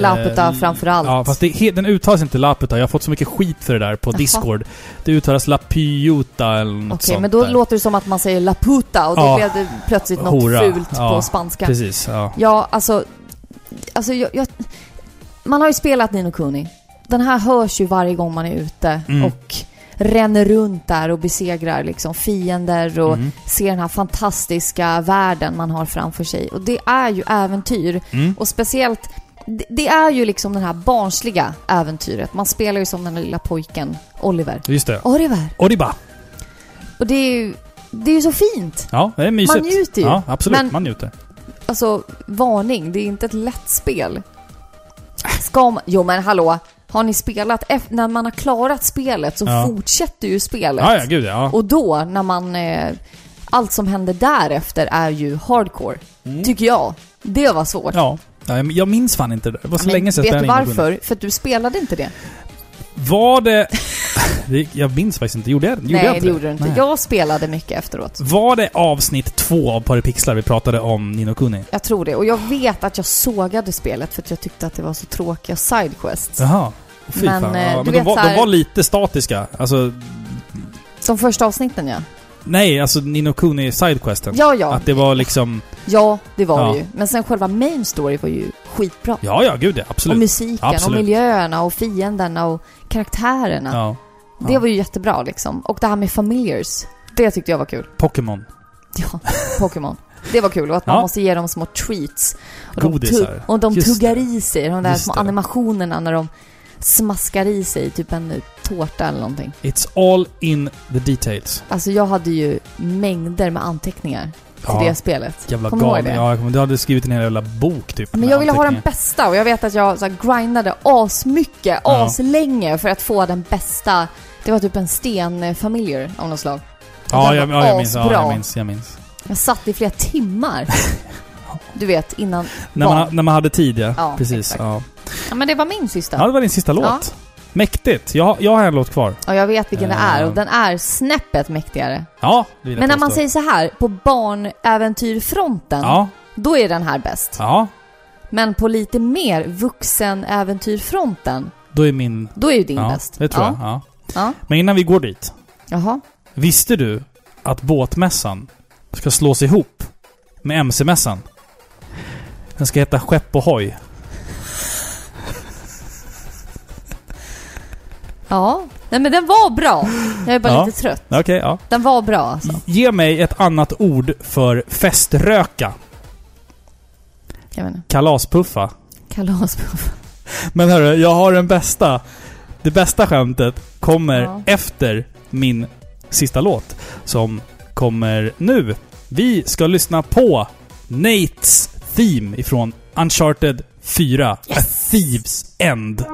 Laputa framför allt.
Ja, fast det, he- den uttalas inte Laputa. Jag har fått så mycket skit för det där på
Jaha.
Discord. Det uttalas Lapiuta eller något
Okej,
sånt
men då
där.
låter det som att man säger Laputa och då
Ja.
blev det plötsligt något
Hora.
fult
Ja,
på spanska.
Precis, ja.
Ja, alltså... alltså jag, jag, man har ju spelat Nino Kuni. Den här hörs ju varje gång man är ute
Mm.
och ränner runt där och besegrar liksom fiender och
Mm.
ser den här fantastiska världen man har framför sig. Och det är ju äventyr.
Mm.
Och speciellt, det, det är ju liksom det här barnsliga äventyret. Man spelar ju som den lilla pojken Oliver.
Just det.
Oliver!
Oriba!
Och det är ju, det är ju så fint!
Ja, det är mysigt.
Man njuter ju.
Ja, absolut.
Men-
Man njuter.
Alltså, varning. Det är inte ett lätt spel. Ska man... Jo men hallå. Har ni spelat... eff- När man har klarat spelet så
Ja.
fortsätter ju spelet.
Ja, ja, gud ja.
Och då, när man... Eh, allt som händer därefter är ju hardcore. Tycker jag. Det var svårt.
Mm. Ja. ja. men Jag minns fan inte det. Det var så
Men
länge sedan jag
Vet du
spelade in i Gunnar.
varför? För att du spelade inte det.
Var det... det- jag minns faktiskt inte. Gjorde jag, gjorde jag
Nej,
inte
det gjorde du inte.
Nej.
Jag spelade mycket efteråt.
Var det avsnitt två av Paripixlar vi pratade om Nino Kuni?
Jag tror det. Och jag vet att jag sågade spelet för att jag tyckte att det var så tråkiga sidequests.
Jaha. Fy
Men,
fan.
eh,
Ja,
du
men de,
vet
var,
så här-
de var lite statiska. Alltså,
De första avsnitten ja.
nej, alltså Nino Kuni sidequesten.
Ja, ja.
Att det var liksom...
Ja, det var
Ja.
det ju. Men sen själva main story var ju skitbra.
Ja, ja, gud ja.
och
Absolut.
musiken
Absolut.
och miljöerna och fienderna och karaktärerna.
Ja.
Det var ju jättebra liksom. Och det här med familjers. Det tyckte jag var kul.
Pokémon.
Ja, Pokémon. Det var kul och att man
Ja.
måste ge dem små treats. Och
Godisar.
De typ- tugg- och de
Just
tuggar
det.
i sig de där
Just
små
det.
animationerna när de smaskar i sig typ en tårta eller någonting.
It's all in the details.
Alltså jag hade ju mängder med anteckningar till
Ja,
det spelet.
jävla
Kommer du ihåg
galen.
det?
Ja, jag kommer- du hade skrivit en hel jävla bok typ.
Men
med
jag ville ha den
anteckningar.
bästa och jag vet att jag så här, grindade asmycket,
Ja.
aslänge för att få den bästa. Det var typ en stenfamiljer av något slag.
Ja,
Den
jag,
var
ja, jag minns. Ja, jag
asbra.
minns. Jag minns.
Jag satt i flera timmar. Du vet, innan...
När
Barn.
man, när man hade tid, ja.
Ja,
Precis.
exakt.
Ja.
Ja men det var min sista.
ja, det var din sista låt. Mäktigt. Jag, jag har en låt kvar.
Och jag vet vilken det
Eh.
är och den är snäppet mäktigare.
Ja, det vill jag
Men när man
påstå.
säger så här, på barnäventyrfronten,
Ja,
då är den här bäst.
ja.
Men på lite mer vuxenäventyrfronten,
Då är min...
då är ju din
ja,
bäst.
Det tror
ja.
jag. Ja.
Ja.
Men innan vi går dit.
Jaha.
Visste du att båtmässan ska slås ihop med MC-mässan? Den ska heta Skepp och hoj.
Ja. Nej men den var bra. Jag är bara
Ja.
lite trött.
Okej, ja.
Den var bra alltså.
Ge mig ett annat ord för feströka.
Jag menar,
Kalaspuffa.
kalaspuff.
Men hörru, jag har den bästa. Det bästa skämtet kommer
Ja.
efter min sista låt. Som kommer nu. Vi ska lyssna på Nates Theme ifrån Uncharted 4. A Thieves End.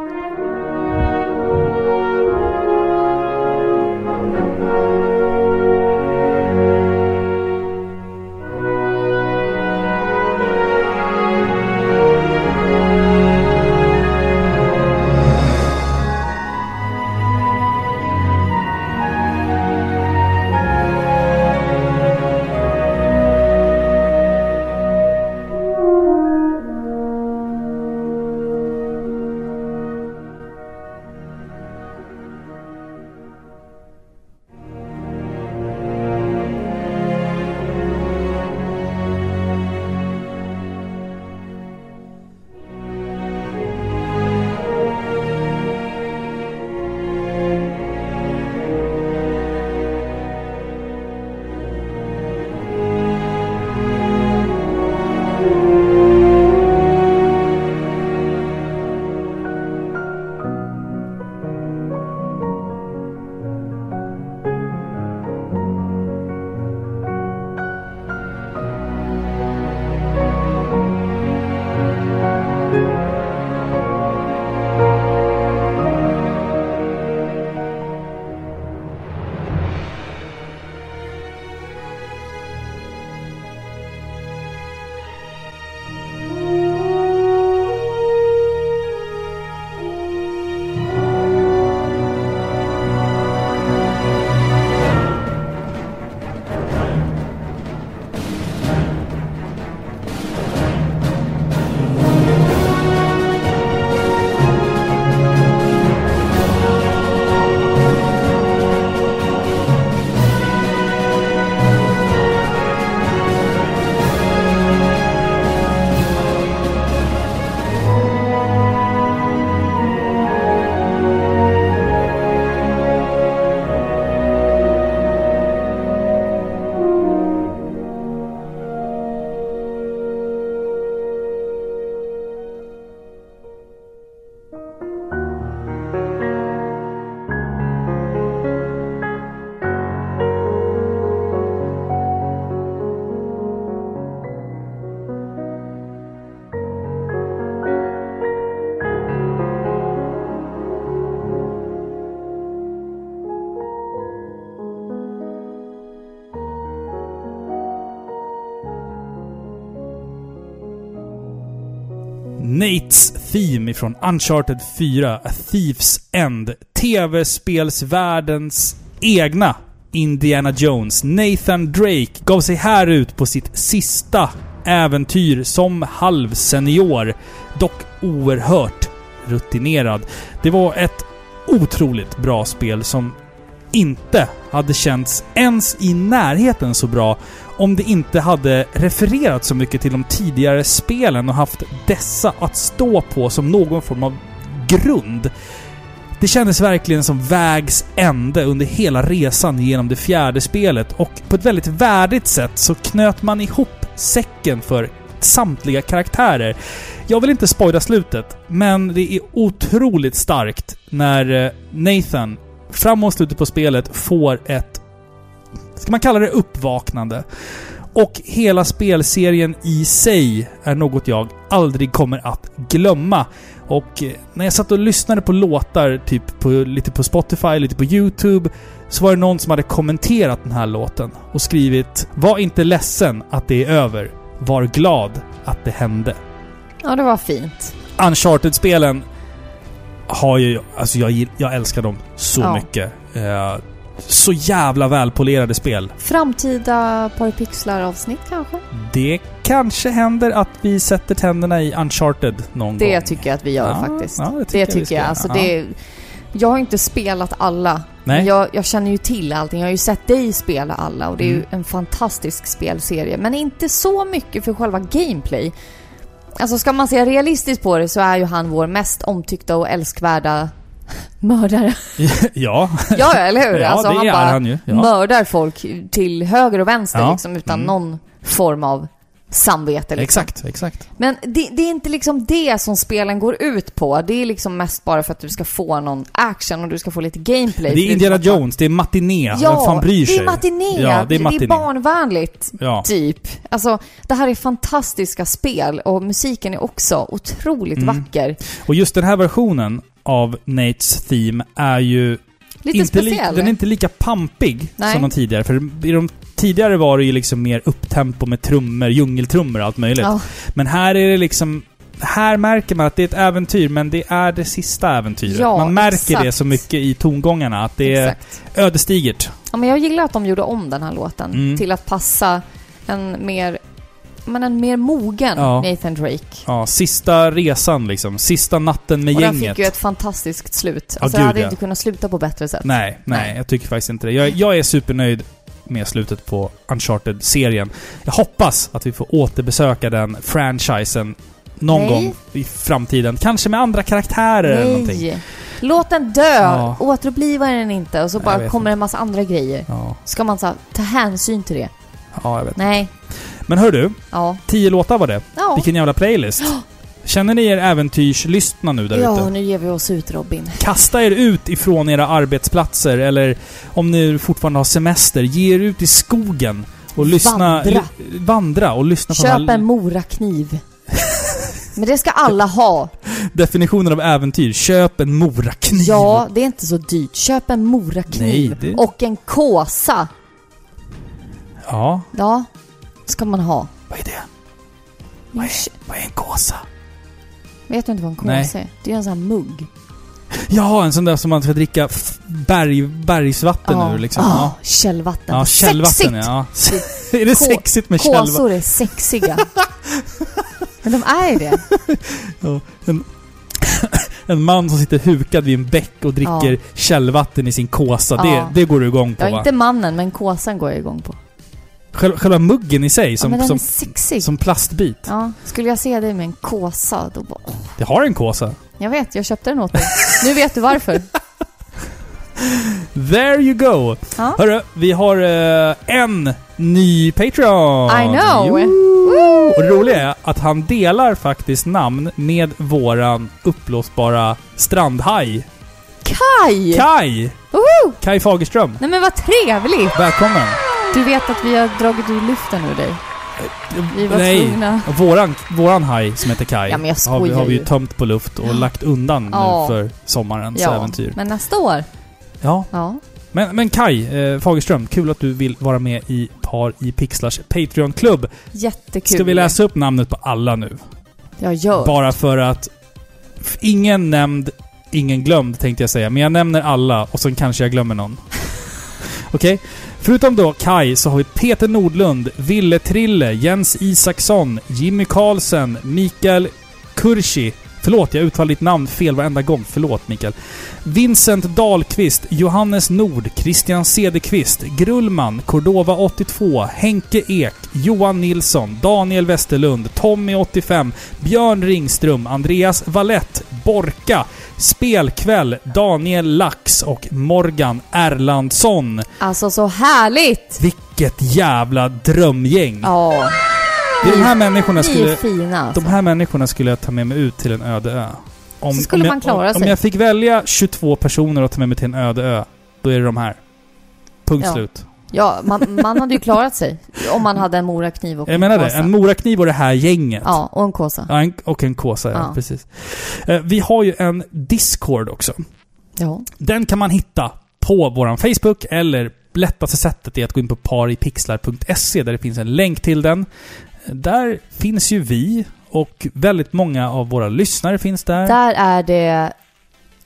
Nates Theme ifrån Uncharted 4, A Thieves End. TV-spelsvärldens egna Indiana Jones, Nathan Drake, gav sig här ut på sitt sista äventyr som halvsenior. Dock oerhört rutinerad. Det var ett otroligt bra spel som inte hade känts ens i närheten så bra om det inte hade refererat så mycket till de tidigare spelen och haft dessa att stå på som någon form av grund. Det kändes verkligen som vägs ände under hela resan genom det fjärde spelet och på ett väldigt värdigt sätt så knöt man ihop säcken för samtliga karaktärer. Jag vill inte spoila slutet, men det är otroligt starkt när eh, Nathan framåt slutet på spelet får ett... Ska man kalla det uppvaknande? Och hela spelserien i sig är något jag aldrig kommer att glömma. Och eh, när jag satt och lyssnade på låtar, typ på, lite på Spotify, lite på YouTube, så var det någon som hade kommenterat den här låten och skrivit “Var inte ledsen att det är över. Var glad att det hände”.
Ja, det var fint.
Uncharted-spelen har ju... Alltså jag, gill- jag älskar dem så
Ja.
mycket. Eh, så jävla välpolerade spel.
Framtida porrpixlar-avsnitt kanske?
Det kanske händer att vi sätter tänderna i Uncharted någon gång.
Det tycker jag att vi gör
Ja,
faktiskt.
ja,
det
det tycker jag
tycker jag.
vi ska göra.
Alltså, det, jag har inte spelat alla.
Nej.
Men jag, jag känner ju till allting. Jag har ju sett dig spela alla och det är ju
Mm.
en fantastisk spelserie. Men inte så mycket för själva gameplay. Alltså ska man se realistiskt på det så är ju han vår mest omtyckta och älskvärda mördare.
ja,
Ja, ja, eller hur?
ja
alltså,
det
han
är
bara
han ju. Ja.
mördar folk till höger och vänster
Ja.
liksom, utan
Mm.
någon form av samvete. Liksom.
Exakt, exakt.
Men det, det är inte liksom det som spelen går ut på. Det är liksom mest bara för att du ska få någon action och du ska få lite gameplay.
Det är Indiana Jones, det är matiné. Vem fan bryr sig?
det är matiné.
Ja, det är matiné.
barnvänligt,
Ja.
typ. Alltså, det här är fantastiska spel och musiken är också otroligt
Mm.
vacker.
Och just den här versionen av Nates theme är ju
Lite
inte li-
speciell.
den är inte lika pampig
Nej.
som de tidigare. För i de tidigare var det ju liksom mer upptempo med trummor, djungeltrummor och allt möjligt.
Ja.
Men här är det liksom... Här märker man att det är ett äventyr, men det är det sista äventyret.
Ja,
man märker det
exakt.
så mycket i tongångarna, att det är
Exakt.
ödesdigert.
Ja, men jag gillar att de gjorde om den här låten
Mm.
till att passa en mer, men en mer mogen
Ja.
Nathan Drake.
Ja, sista resan liksom. Sista natten med
Och den
gänget.
fick ju ett fantastiskt slut.
Ja,
Alltså, jag
gud,
hade
ja.
inte kunnat sluta på bättre sätt.
Nej, nej,
Nej.
jag tycker faktiskt inte det. Jag, jag är supernöjd med slutet på Uncharted-serien. Jag hoppas att vi får återbesöka den franchisen någon
Nej.
gång i framtiden. Kanske med andra karaktärer eller någonting.
Nej! Låt den dö!
Ja.
Återuppliva den inte och så
Jag
bara
vet
kommer en massa andra grejer.
Ja,
Ska man så här, ta hänsyn till det?
ja, jag vet.
Nej.
Men hör du,
Ja.
tio låtar var det.
Ja,
Vilken jävla playlist. Känner ni er äventyrslystna nu där ute?
ja nu ger vi oss ut Robin.
Kasta er ut ifrån era arbetsplatser eller om ni fortfarande har semester, ge er ut i skogen och lyssna...
Vandra.
l- vandra och lyssna på de
Köp
här
en morakniv. Men det ska alla ha.
Definitionen av äventyr. Köp en morakniv.
Ja, det är inte så dyrt. Köp en morakniv
Nej, det-
och en kåsa.
Ja.
Ja, ska man ha.
Vad är det?
Men kö-
Vad är en kåsa?
Vet du inte vad en
Nej.
kåsa är? Det är en sån här mugg.
Ja, en sån där som man ska dricka f- berg, bergsvatten
Ja.
ur liksom.
Ah,
Ja.
Källvatten.
Ja, källvatten
Sexigt!
ja. är det
Kå-
sexigt med källvatten?
Kåsor är sexiga. Men de är ju det.
En man som sitter hukad vid en bäck och dricker
Ja.
källvatten i sin kåsa.
Ja.
Det, det går du igång på
Ja,
va?
inte mannen, men kåsan går jag igång på.
Själva, själva muggen i sig
ja, men
som,
den
som,
är sexig.
som plastbit.
Ja, skulle jag se dig med en kåsa, då bara... åh.
Det har en kåsa.
Jag vet, jag köpte den åt dig. Nu vet du varför.
There you go!
Ja.
Hörru, vi har eh, en ny Patreon!
I know.
Jo. Och det roliga är att han delar faktiskt namn med våran uppblåsbara strandhaj.
Aj!
Kai!
Woho!
Kai Fagerström.
Nej men vad trevligt!
Välkommen!
Du vet att vi har dragit ur luften ur dig. Vi var tvungna.
Våran, våran haj som heter Kai
Ja, men jag
har, vi,
skojar
har vi ju
ju.
tömt på luft och lagt undan
Ja.
nu för sommarens
Ja,
äventyr.
men nästa år.
Ja.
Ja.
Men, men Kai eh, Fagerström, kul att du vill vara med i Par i Pixlars Patreon-klubb.
Jättekul.
Ska vi läsa upp namnet på alla nu?
Jag gör.
Bara för att... f- Ingen nämnd, ingen glömd tänkte jag säga. Men jag nämner alla och sen kanske jag glömmer någon. Okej? Förutom då Kai så har vi Peter Nordlund, Ville Trille, Jens Isaksson, Jimmy Karlsson, Mikael Kursi. Förlåt, jag uttalar ditt namn fel varenda gång. Förlåt Mikael. Vincent Dahlqvist, Johannes Nord, Christian Cederqvist, Grullman, Cordova 82, Henke Ek, Johan Nilsson, Daniel Westerlund, Tommy 85, Björn Ringström, Andreas Valett, Borka, Spelkväll, Daniel Lax och Morgan Erlandsson.
Alltså så härligt!
Vilket jävla drömgäng!
Ja,
Det är de här människorna
ni är
Mm. skulle...
fina alltså.
De här människorna skulle jag ta med mig ut till en öde ö. Om,
Så skulle
om jag,
man klara
om, Om
sig.
jag fick välja 22 personer att ta med mig till en öde ö, då är det de här. Punkt
Ja.
slut.
Ja, man, man hade ju klarat sig om man hade en morakniv och
Jag menar det.
kåsa.
En morakniv och det här gänget.
Ja, och en kåsa.
Ja, en, och en kåsa, ja.
Ja.
Precis. Eh, Vi har ju en Discord också.
Ja.
Den kan man hitta på vår Facebook eller lättaste sättet är att gå in på paripixlar.se där det finns en länk till den. Där finns ju vi och väldigt många av våra lyssnare finns där.
Där är det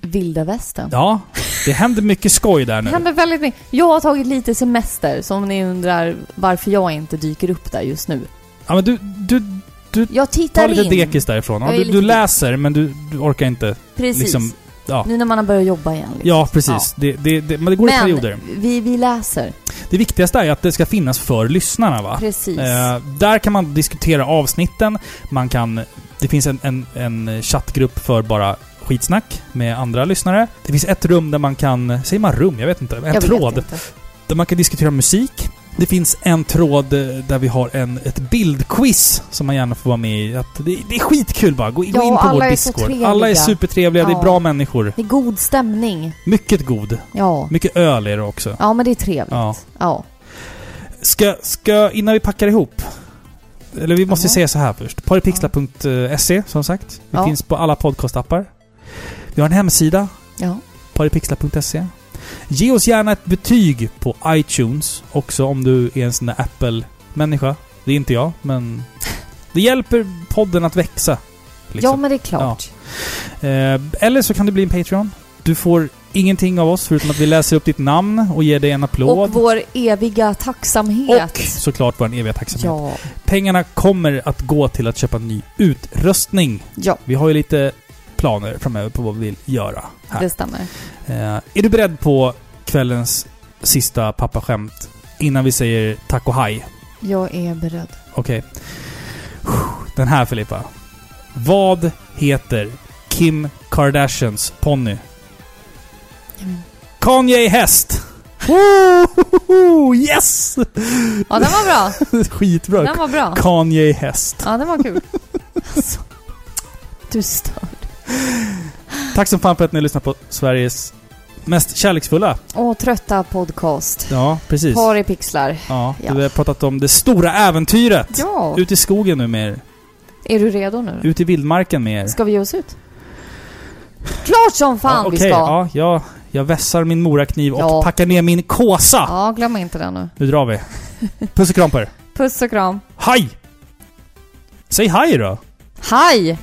vilda västern.
Ja, det händer mycket skoj där
Det
nu.
händer väldigt mycket. Jag har tagit lite semester, så om ni undrar varför jag inte dyker upp där just nu.
Ja, men du, du
Jag
tar
tittar
lite
in.
dekis därifrån. Ja,
Jag är
du,
lite
du läser, men du, du orkar inte.
Precis.
liksom, ja.
Nu när man har börjat jobba igen. Liksom.
Ja, precis. Det, det, det, men det går i perioder.
Men vi, vi läser.
Det viktigaste är att det ska finnas för lyssnarna, va?
Precis.
Eh, där kan man diskutera avsnitten. Man kan, det finns en, en, en chattgrupp för bara skitsnack med andra lyssnare. Det finns ett rum där man kan... Säger man rum? Jag vet inte. En
jag
tråd.
Vet inte.
Där man kan diskutera musik. Det finns en tråd eh, där vi har en, ett bildquiz som man gärna får vara med i. Att det, det är skitkul bara. Gå,
Ja,
gå in på
alla
vår
är så
Discord.
trevliga.
Alla är supertrevliga. Det är
Ja.
bra människor.
Det är god stämning.
Mycket god.
Ja.
Mycket öl är det också.
Ja, men det är trevligt.
Ja.
Ja.
Ska, ska, innan vi packar ihop. Eller vi måste
Ja.
säga så här först. Paripixla.se som sagt. Vi
Ja.
finns på alla podcastappar. Vi har en hemsida.
Ja.
paripixla.se. Ge oss gärna ett betyg på iTunes också om du är en sån där Apple-människa. Det är inte jag, men det hjälper podden att växa.
ja,
liksom.
men det är klart.
Eh, eller så kan du bli en Patreon. Du får ingenting av oss förutom att vi läser upp ditt namn och ger dig en applåd.
Och vår eviga tacksamhet.
Och såklart vår eviga tacksamhet.
Ja.
Pengarna kommer att gå till att köpa ny utrustning.
Ja,
Vi har ju lite planer framöver på vad vi vill göra här.
det stämmer.
Eh, är du beredd på kvällens sista pappaskämt innan vi säger tack och hej?
Jag är beredd.
Okej. Den här Filippa. Vad heter Kim Kardashians ponny?
Mm.
Kanye Häst! Woho! Yes!
Ja, den var bra.
Skitbra.
Den var bra.
Kanye Häst.
Ja, den var kul. Alltså. Du stör.
Tack som fan för att ni lyssnar på Sveriges mest kärleksfulla.
Och trötta podcast.
Ja, precis.
Par i pixlar.
Ja,
Ja.
Vi har pratat om det stora äventyret.
Ja.
Ut i skogen nu med er.
Är du redo nu?
Ut i vildmarken med er.
Ska vi ge oss ut? Klart som fan
ja,
vi
okej.
ska! Ja.
Ja, jag, jag vässar min morakniv och
Ja.
packar ner min kåsa.
glöm inte det nu.
Nu drar vi. Puss och kram på er.
Puss och kram.
Hej! Säg hej då!
Hej!